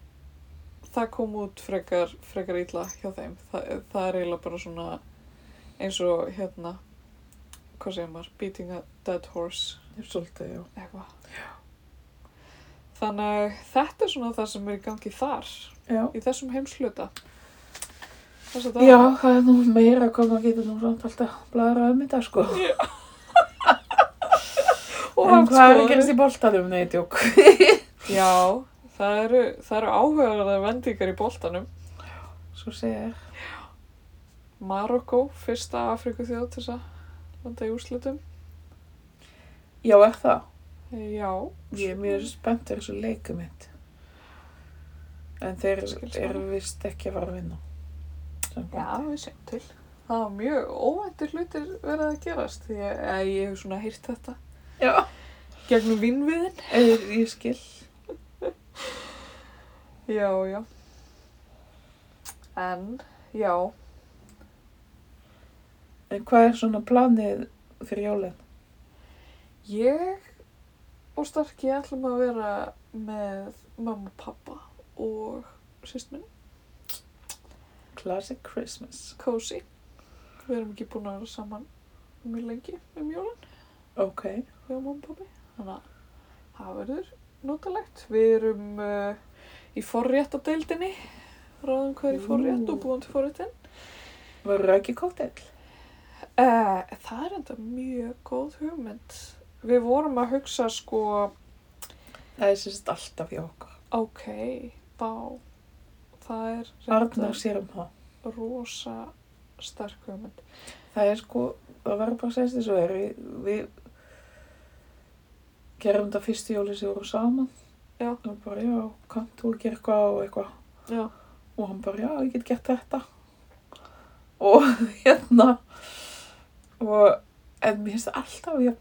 það kom út frekar, frekar illa hjá þeim. Þa, það er eiginlega bara svona eins og, hérna, hvað segir maður, beating a dead horse, Svolítið, já. eitthvað. Þannig þetta er svona það sem er í gangi þar, Já. í þessum heimsluta. Þess að Já, það er nú meira hvað maður getur nú samt alltaf blæðra um þetta sko. og en haft hvað er skoðanir. að gerast í boltanum, nei, djók. Já, það eru, það eru áhugaðar vendingar í boltanum. Svo segir, Marokko, fyrsta Afriku þjóð til þess að landa í úrslitum. já, er það? Já, Ég er mjög spennt fyrir þessu leikum mitt. En þeir Skilst eru vist ekki að fara að vinna. já, Samkvæmt. við segjum til. Það var mjög óvæntir hlutir verið að gerast því að eða ég hef svona heyrt þetta Já. gegnum vinnviðin. Ég, ég skil. Já, já. En, já, En hvað er svona planið fyrir jólinn? ég og Starki ætlum að vera með mamma og pappa og sýst minn. Classic Christmas. cozy. Við erum ekki búin að vera saman mjög lengi um jólun, Ok. við og mamma og pabbi. Þannig að það verður notalegt. Við erum uh, í forréttadeildinni, ráðum hvað er í forrétt Ú. og búin til forréttin. Verður það ekki kóttel? Uh, það er enda mjög góð hugmynd. Við vorum að hugsa sko, Það er sérst alltaf hjá okkur. ok, bá, það er Arnar sér um það. rosa sterk hugmynd. Það er sko, það verður bara að segja þessu er. Við, við gerum þetta fyrstu jóli sem við vorum saman. Já. Og bara, já, kannt þú að gera eitthvað og eitthvað. Já, og hann bara, já, ég get gert þetta og [laughs] hérna og en mér finnst það alltaf ég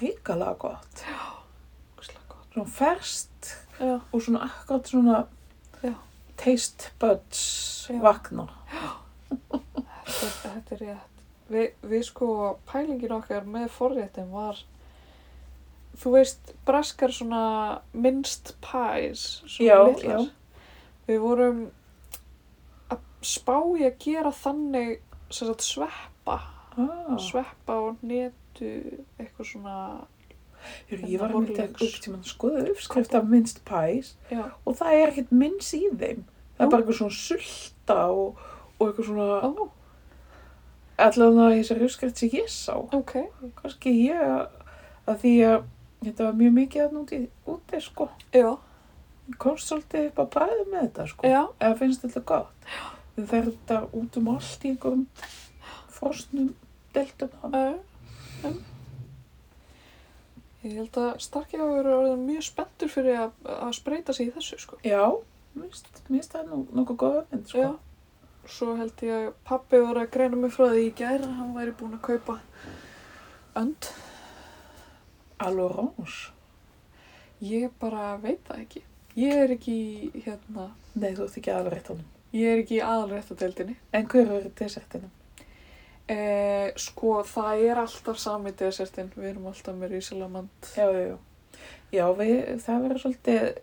ríkala gott ógustlega gott. svona ferskt Já, og svona akkurat svona Já. taste buds Já. vakna Þetta þetta er rétt. Vi, við sko, pælingin okkar með forréttum var, þú veist, braskar svona minnst pæs, svona Já, litlar. Við vorum að spá í að gera þannig sem sagt sveppa, ah, sveppa og netu, eitthvað svona, Heyrðu, ég var hérna, myndið Borlaug. eitthvað tíma að skoða uppskrift af minnst pæs já, og það er ekkert minns í þeim það Nú. er bara eitthvað svona sulta og, og eitthvað svona ó, allan að þessari uppskrift sem ég sá ok, kannski ég að því að þetta var mjög mikið að núti úti sko, já, Ég komst svolítið upp að bræða með þetta sko, já, eða finnst þetta gott við verðum þetta út um allt í einhverjum frosnum deltum hann, uh, um. Ég held að Starki hafa verið orðin mjög spenntur fyrir að, að spreita sig í þessu, sko. já mér finnst- mér finnst það nú nokkuð góð mynd sko, Já, svo held ég að pappi var að greina mig frá því í gær að hann væri búinn að kaupa önd. alveg róns Ég bara veit það ekki. Ég er ekki, í, hérna, nei þú ert ekki alveg rétt hann ég er ekki í aðalréttadeildinni. en hver verður desertinum? E, sko, það er alltaf sami desertinn. Við erum alltaf með rísalamand. já, já, já, já við, það verður svolítið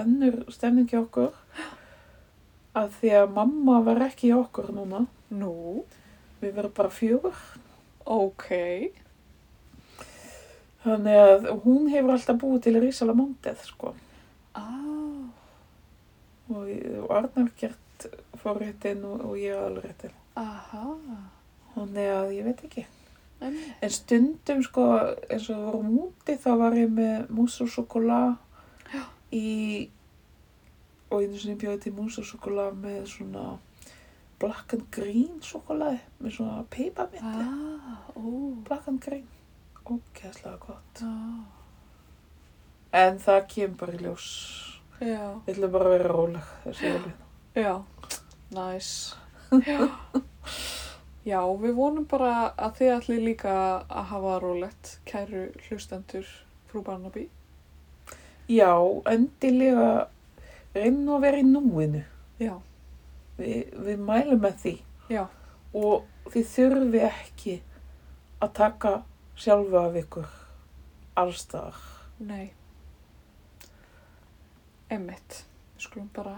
önnur stemning hjá okkur að því að mamma var ekki hjá okkur núna Nú, Við verðum bara fjögur. ok. Þannig að hún hefur alltaf búið til Rísalamandið, sko. Ah, Og, og Arnar gert forréttin og, og ég alréttin. aha. Þannig að ég veit ekki. En, En stundum, sko, eins og við vorum úti, þá var ég með mús og sjokola í... Og einu sinni bjóði til mús og sjokola með svona black and green sjokolaði. Með svona peipaminni. ah, ó. Black and green. Ógeðslega gott. Ah, En það kemur bara í ljós. já, Við ætlum bara að vera róleg þessi jólin. já. Næs. Já. Já, við vonum bara að þið ætli líka að hafa rólegt, kæru hlustendur frú Barnaby. Já, endilega reynum nú að vera í núinu. Já, Vi, við mælum með því já, og þið þurfi ekki að taka sjálfa af ykkur allstaðar. nei. Emmitt, við skulum bara,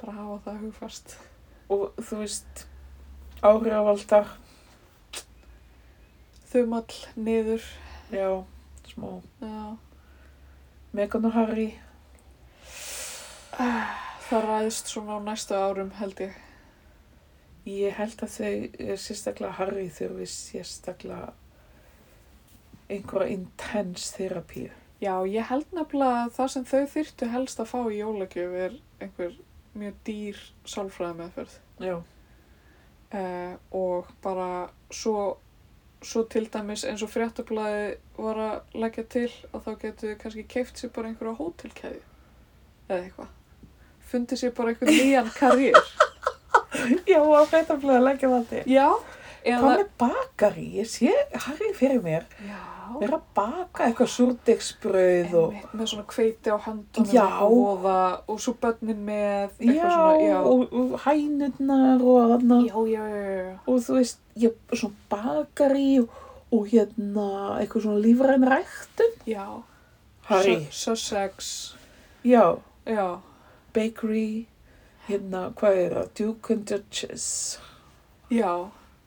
bara hafa það hugfast. Og þú veist, áhrifaldar, Þumall, niður, já, smá já, Megan og Harry. Það ræðist svona á næstu árum held ég. Ég held að þau, eh, sérstaklega Harry, þurfi sérstaklega einhverja intense þerapíu. Já, ég held nefnilega að það sem þau þyrtu helst að fá í jólagjöf er einhver mjög dýr sálfræði meðferð. Já. Eh, og bara svo, svo til dæmis eins og fréttablaði var að leggja til að þá getur þau kannski keift sér bara einhverja hótelkæði eða eitthvað. Fundið sér bara einhver nýjan [laughs] karýr. Já, að breyta að leggja það til. Já. Hvað Eða, með bakari? Ég sé Harry fyrir mér. já. Við erum að baka eitthvað súrdegsbrauð og... Einmitt, með svona kveiti á handunum Já. og voða og svo bönnin með Já, eitthvað svona, já. og, og hænurnar og þarna já, já, já, já, já. og þú veist, ég svona bakari og, og hérna eitthvað svona lífræn ræktun. já. Harry. Su- Sussex, Já, já, bakery, hérna, hvað er það? Duke and Duchess. já,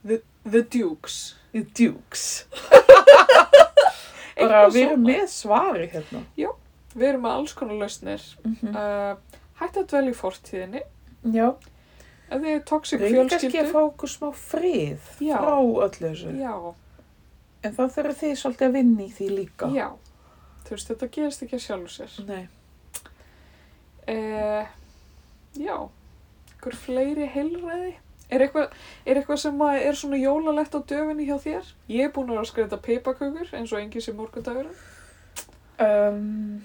The, the Dukes. The Dukes. Bara Eitthvað við erum svona. með svari hérna. Við erum með alls konar lausnir. Mm. Uh, hætt að dvelja í fortíðinni, Já, ef þið er toxic reynir kannski að fjölskyldu. fá okkur smá frið Já. frá öllu þessu. Já, En þá þurfum þið svolítið að vinna í því líka. já. Þú veist, þetta gerist ekki að sjálfu sér. Nei. Uh, já, ykkur fleiri heilræði. Er eitthvað, er eitthvað sem að er svona jólalegt á döfinni hjá þér? Ég er búin að skreita peipakökur eins og engi sem morgundagurinn. Um,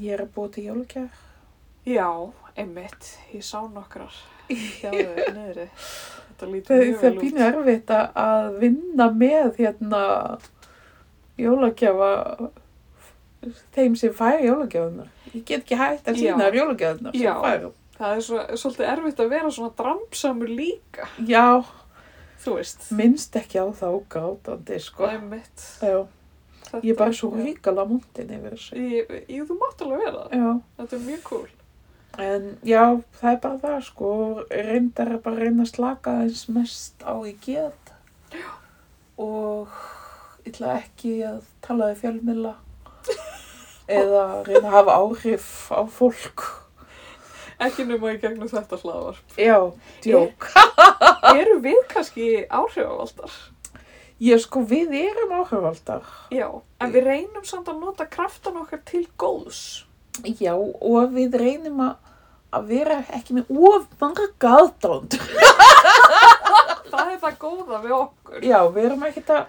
ég er að búa til jólagjafir. Já, einmitt, ég sá nokkrar hjá þau niðri. Þetta lítur Það mjög það vel er út. pínu erfitt að- að vinna með hérna jólagjafa þeim sem fær jólagjafunar. Ég get ekki hægt að Já. sína af jólagjafunar sem Já. fær. Það er svo, svolítið erfitt að vera svona dramsamur líka, Já, þú veist. minnst ekki á þá grátandi, sko. Einmitt. Já, Þetta, ég er bara svo já. ríkala múndin yfir þessu. Ég, ég, þú mátt alveg vera það. Já, Þetta er mjög cool. en já, það er bara það, sko. Reyndar að bara reyna að slaka eins mest á í get. Og ég ætla ekki að tala við [laughs] fjölmilla. Eða reyna að hafa áhrif á fólk. Ekki nema í gegnum þetta hlaðvar. Já, djók. [laughs] Eru við kannski áhrifavaldar? Ég sko, við erum áhrifaldar. Já, en við reynum samt að nota kraftan okkar til góðs. Já, og við reynum að að vera ekki með of marga aðdánd. Það er það góða við okkur. Já, við erum ekkert að,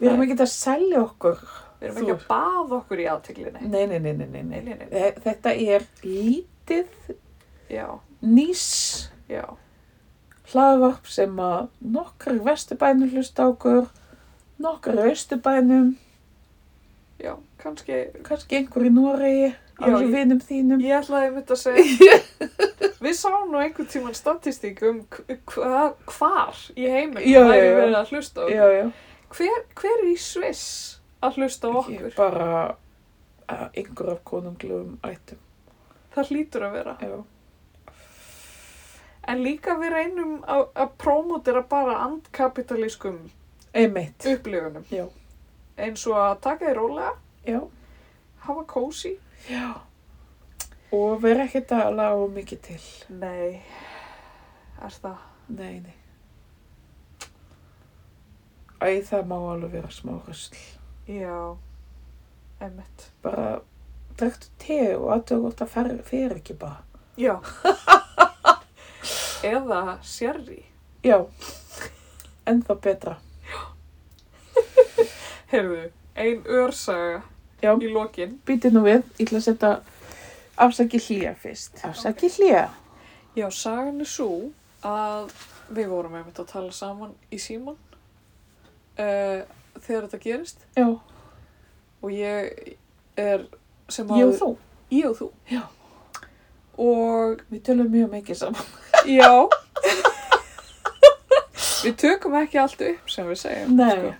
við erum ekkert að selja okkur. Við erum ekki að baða okkur í aðteglinni. Nei, nei, nei, nei, nei, nei. Nei, nei, nei. Þe- Eh, Þetta er lítið Já, nýs já. hlaðvarp sem að nokkar vesturbænum hlusta á okkur, nokkar austurbænum, Já, kannski, kannski einhver í Noregi, alveg ég- vinum þínum. ég ætlaði einmitt að segja, [laughs] við sáum nú einhvern tíman statistík um hv- hva, hvar í heiminn Já, já, væri já. verið að hlusta Já, á okkur. já. Hver, hver er í Sviss að hlusta á okkur? Ég bara að einhver af konunglum ættum. Það hlýtur að vera. Já. En líka við reynum að, að prómótera bara andkapitalískum Einmitt. Mm. upplifunum. Já. Eins og að taka þér rólega, Já. hafa kósi. Já. Og vera ekkert að laga of mikið til. Nei, er það? Nei, nei. Æ, það má alveg vera smá rusl. Já, emmitt. Bara drektu te og aðtöðu hvort það fer, fer ekki bara. Já. [laughs] Eða sérri. Já, ennþá betra. Heyrðu, ein örsaga Já. í lokin. Býti nú við, ég ætla að setja afsaki hlýja fyrst. Afsaki hlýja. Já, sagan er svo að við vorum einmitt að tala saman í síman uh, þegar þetta gerist Já, og ég er sem ég og þú. Ég og þú. Já. Og Við tölum mjög mikið saman. já, við tökum ekki allt upp sem við segjum. Nei.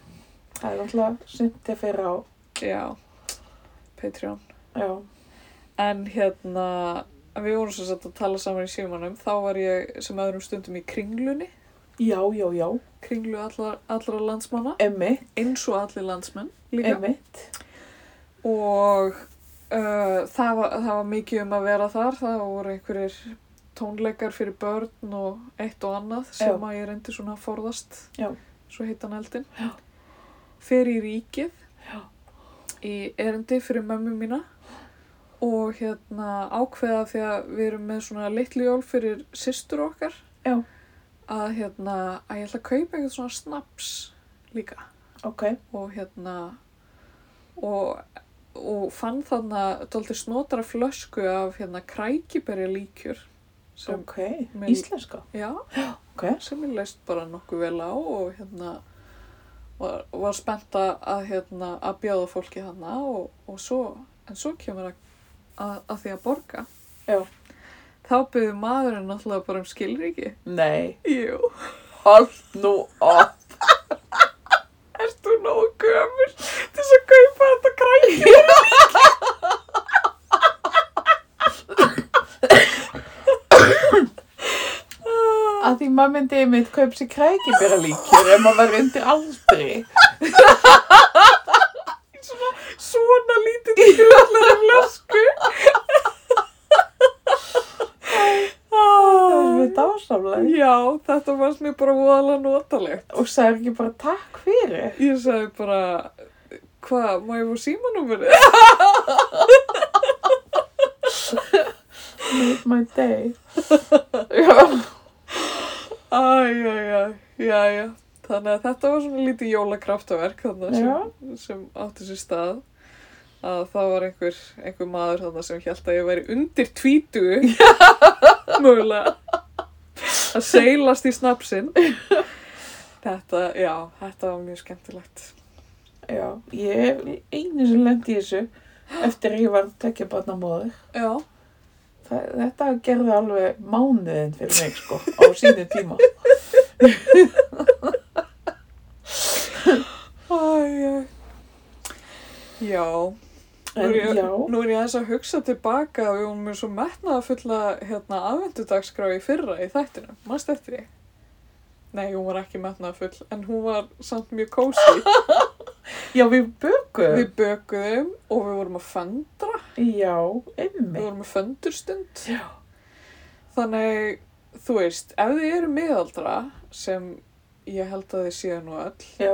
Það er alltaf sundi fyrir á. Sko. Já, Patreon. Já, En hérna, en við vorum sem sagt að tala saman í símanum, þá var ég sem öðrum stundum í kringlunni, já, já, já. kringlu allra, allra landsmanna, Emmitt, eins og allir landsmenn líka. emmitt. Og Uh, það, var, það var mikið um að vera þar, það voru einhverjir tónleikar fyrir börn og eitt og annað sem Já. að ég reyndi svona að forðast, Já. svo heitan eldin. Já. Fer í ríkið, Já. í erindi fyrir mömmu mína og hérna ákveða því að við erum með svona litli jól fyrir systur okkar Já. að hérna að ég ætla að kaupa eitthvað svona snaps líka ok, og hérna og, og fann þarna dóltið snotra flösku af hérna krækiberja líkjur sem, ok, Með- íslenska, já, ok, sem ég leist bara nokkuð vel á og hérna var, var spennt að- að hérna að bjóða fólki þarna og, og svo, en svo kemur að, að, að því að borga Já. þá byrði maðurinn náttúrulega bara um skilríki nei, jú, hold nú [laughs] á, ert þú nógu gömur til þess að kaupa þetta krækiberja að því maður myndi einmitt kaup sér krækibera líkjur ef maður var undir aldri, svona lítið í gröðlega flösku. það er mjög dásamlega, Já, þetta fannst mér bara voðalega notalegt. og sagði ekki bara takk fyrir, Ég sagði bara, hvað, má ég fá símanúmerið? made my day, já, Æ, já, já, já, já. Þannig að þetta var svona lítið jólakraftaverk þarna sem, sem átti sér stað. Að það var einhver, einhver maður þarna sem held að ég væri undir tvítugu, mögulega, að seilast í snapsin. Þetta, já, þetta var mjög skemmtilegt. já, ég er einu sem lendi í þessu, eftir að ég var tekja barnamóður, Já, Það, þetta gerði alveg mánuðin fyrir mig, sko, [laughs] á sínu tíma. æj, já. Nú En, er, ég, já, nú er ég aðeins að hugsa tilbaka að við vorum með svo metnaða fulla hérna, aðvendudagsgrá í fyrra í þættinu. Manst eftir því? Nei, hún var ekki metnaða full, en hún var samt mjög [laughs] kósi. já, við bökum. við bökuðum og við vorum að föndra, Já, við einmitt. vorum með föndurstund. Já. Þannig, þú veist, ef þið eru miðaldra, sem ég held að þið séu nú öll, Já,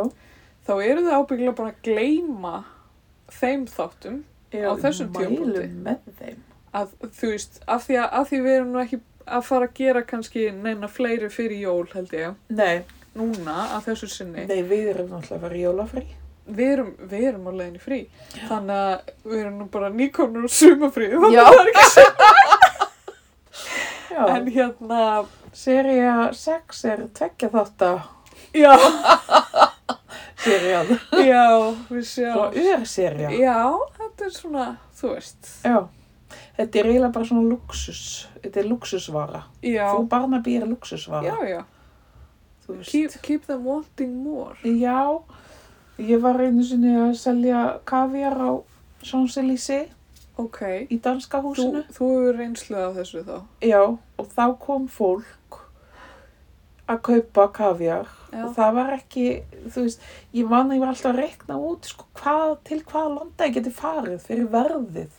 þá eru þið ábyggilega bara að gleyma þeim þáttum já, Á þessum tímapunkti. Mælum með þeim. að þú veist, af því að, af því við erum nú ekki að fara að gera kannski neina fleiri fyrir jól held ég, Nei, núna að þessu sinni, nei, við erum náttúrulega að fara í jólafrí. við erum, við erum á leiðinni frí, þannig að við erum nú bara nýkomnum sumafrí, [laughs] þannig Já. að það er ekki [laughs] sem, Já, en hérna, seria 6 er tvekja þátt að já, seriað. já, við Svo sjáum, ur-seria. já, þetta er svona, þú veist, Já, þetta er eiginlega bara svona luxus. Þetta er luxusvara. já, Frú Barnaby er luxusvara. já, já, þú veist. keep, keep them wanting more, Já, ég var einu sinni að selja kaviar á Sjónselísi ok, í danska þú, húsinu. þú hefur reynsluð af þessu þá, Já, og þá kom fólk að kaupa kaviar já, og það var ekki, þú veist, ég man að ég var alltaf að rekna út sko, hvað, til hvaða landa ég geti farið fyrir verðið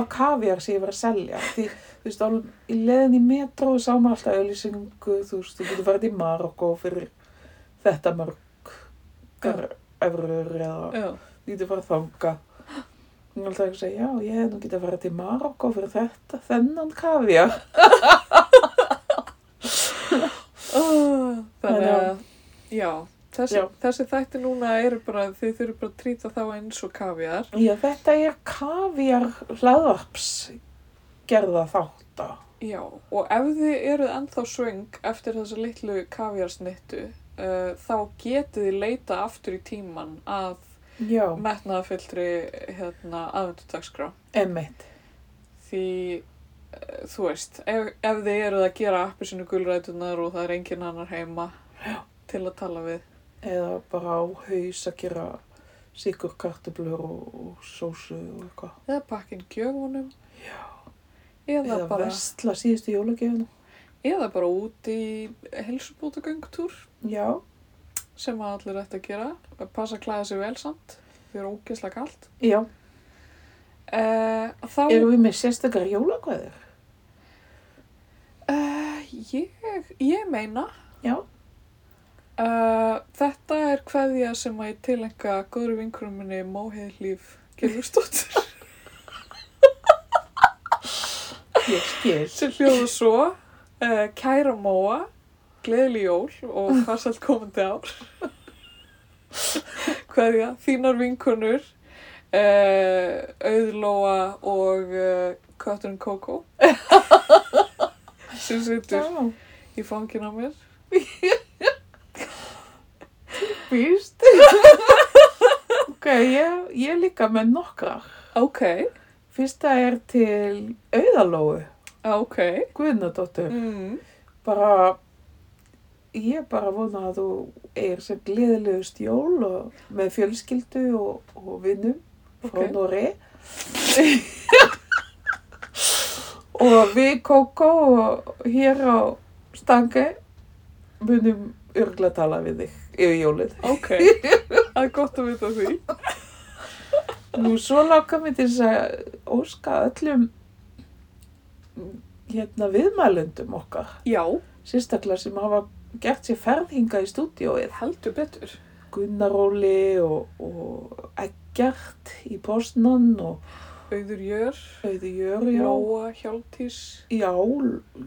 af kaviar sem ég var að selja. Því, þú veist, á, í leðin í metro sá maður alltaf auðlýsingu, þú veist, þú getur farið í Marokko fyrir þetta mörg gar- evrur eða já, þú getur farið þanga. Hún er alltaf að segja, já, ég hef nú getið að fara til Marokko fyrir þetta, þennan kaviar. Oh, þannig Þannig að, já, þessi, Já. þessi þætti núna eru bara, þið þurfum bara að trýta þá eins og kaviar. Já, þetta er kaviar hlaðvarps gerða þátt á. Já, og ef þið eruð ennþá svöng eftir þessa litlu kaviarsnittu, uh, þá getið þið leita aftur í tíman að Já, metnaðafyllri hérna, aðvendudagskrá. emmitt. Því, uh, þú veist, ef, ef þið eruð að gera appi sinu gulrætunar og það er enginn annar heima til að tala við. Eða bara á haus að gera sigur kartöblur og, og sósu og eitthvað. Eða pakkin gjöfunum. Já. Eða, Eða bara... vestla síðustu jólagjöfuna. Eða bara út í helsubótagöngtúr Já, sem að allir ætti að gera. Passa að klæða sig vel samt, því er ógeðslega kallt. já, Uh, þá, Erum við með sérstakar jólagöður? uh, ég, ég meina, Já. uh, þetta er kveðja sem að ég tilenga góður vinkurum minni Móheið Hlíf Gilvursdóttir Ég skil. sem hljóðu svo, uh, kæra Móa, gleðileg jól [laughs] og farsælt komandi ár. kveðja, þínar vinkunur, uh, Auðlóa og uh, Kötturinn Kókó sem situr Já, í fangin á mér. býst. [laughs] ok, ég, ég er líka með nokkrar. Ok, Fyrsta er til auðalóu, ok. Guðnadóttur. Mm. Bara, ég bara vona að þú eigir sem gleðilegust jól og með fjölskyldu og, og vinnum frá Ok. Nóri. [laughs] og við Kókó og hér á Stange munum örgla tala við þig yfir jólið. Ok, [laughs] það er gott að vita því. Nú svo láka mig til þess að óska öllum hérna viðmælundum okkar, Já, sérstaklega sem hafa gert sér ferðhinga í stúdíóið. heldur betur. Gunnar Óli og, og Eggert í Postnan og Auður Jör, Auði Jörjó. Lóa, Hjáltís. Já,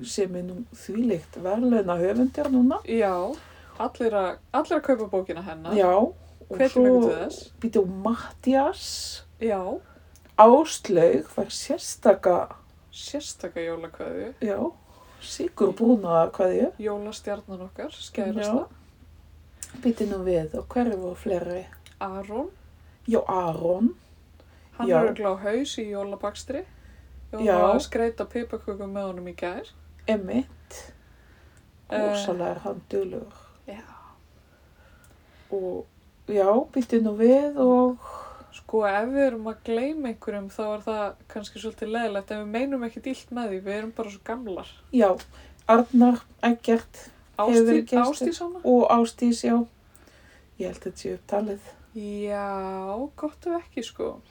sem er nú þvílíkt verðlauna höfundjar núna. Já, allir að, allir að kaupa bókina hennar. Já, og Hvetjum ykkur til þess. býtu Mattias Já, Áslaug var sérstaka, sérstaka jólakveðu. já, sigur brúnaða hvað ég. Jólastjarnan okkar, skærasta. Býtu nú við og hverju voru fleiri? Aron, Já, Aron, hann Já. er örugglega á haus í jólabakstri. Við Já. varum að skreita pipakökum með honum í gær. Emmett, Eh. ósalega er hann duglegur. Já. Og já, býtu nú við og Sko, ef við erum að gleyma einhverjum þá er það kannski svolítið leðilegt en við meinum ekki dýlt með því, við erum bara svo gamlar. já, Arnar, Eggert Hefur verið Ástí, gestur. ástísána? og Ástís, já. Ég held að þetta sé upptalið. Já, gott ef ekki sko.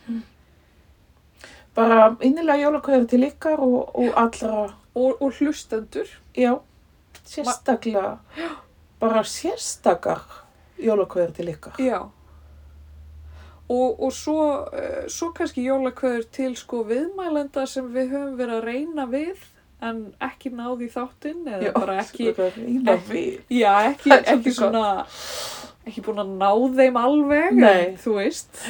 bara innilega jólakveður til ykkar og, og allra, Og, og hlustendur. já, sérstaklega, bara sérstakar jólakveður til ykkar. Já. Og, og svo, eh, svo kannski jólakveður til sko viðmælenda sem við höfum verið að reyna við en ekki náði þáttinn eða bara ekki, Ína ekki- við. já, sko. Það ekki, er ekki svolítið svona, ekki búin að ná þeim alveg, Nei. en þú veist.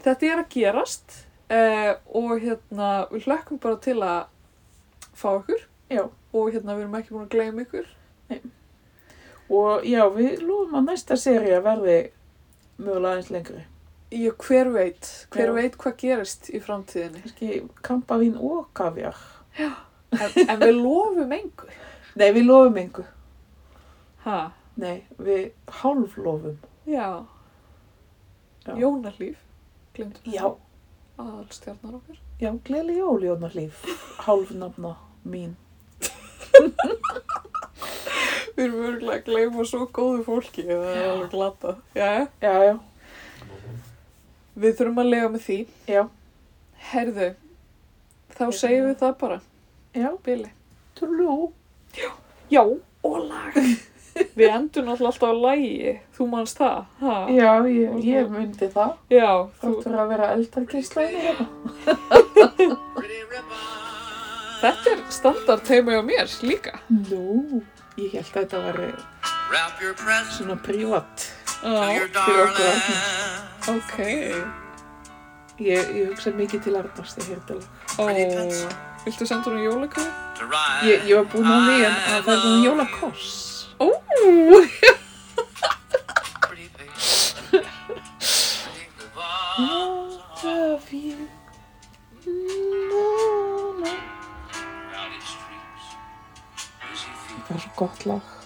Þetta er að gerast eh, og hérna, við hlökkum bara til að fá ykkur Já, og hérna, við erum ekki búin að gleyma ykkur. og já, við lúðum að næsta serið verði mögulega aðeins lengri. Ég hver veit, hver Já. veit hvað gerist í [laughs] framtíðinni. Kannski kampavín og kafjar. En, en við lofum engu. Nei, við lofum engu. Hæ? Nei, við hálflofum. Já. Já. Jónalíf, glemtum Já, Aðalstjarnar okkar. já, gleyli jól, Jónar Líf. Hálfnafna mín. Við erum örgulega að gleyma svo góðu fólki, það er alveg glata. Já, Já, já, við þurfum að lega með því. já, Herðu, þá Heyrðu. segjum við það bara, já, Bili. trú. Já, og lag. [laughs] við endum náttúrulega alltaf á lagi, þú manst það, ha? Já, ég, ég myndi það. Já, þú, Þáttur að vera eldarkíslaði hérna. þetta er standard teimi á mér líka. Nú, ég held að þetta var Wrap your present svona prívat. to Já, your fyrir okkur. darling. ok. Ég, ég hugsa mikið til Arnars þegar þetta lag. Ó, Pretty pets. viltu senda hún í jólakveð? To ride. Ég, ég var búin á því en en það er svona jólakoss. Ó, Pretty face. Pretty revolves along Love you. No, no. crowded streets. Busy feet. Það var svo gott lag.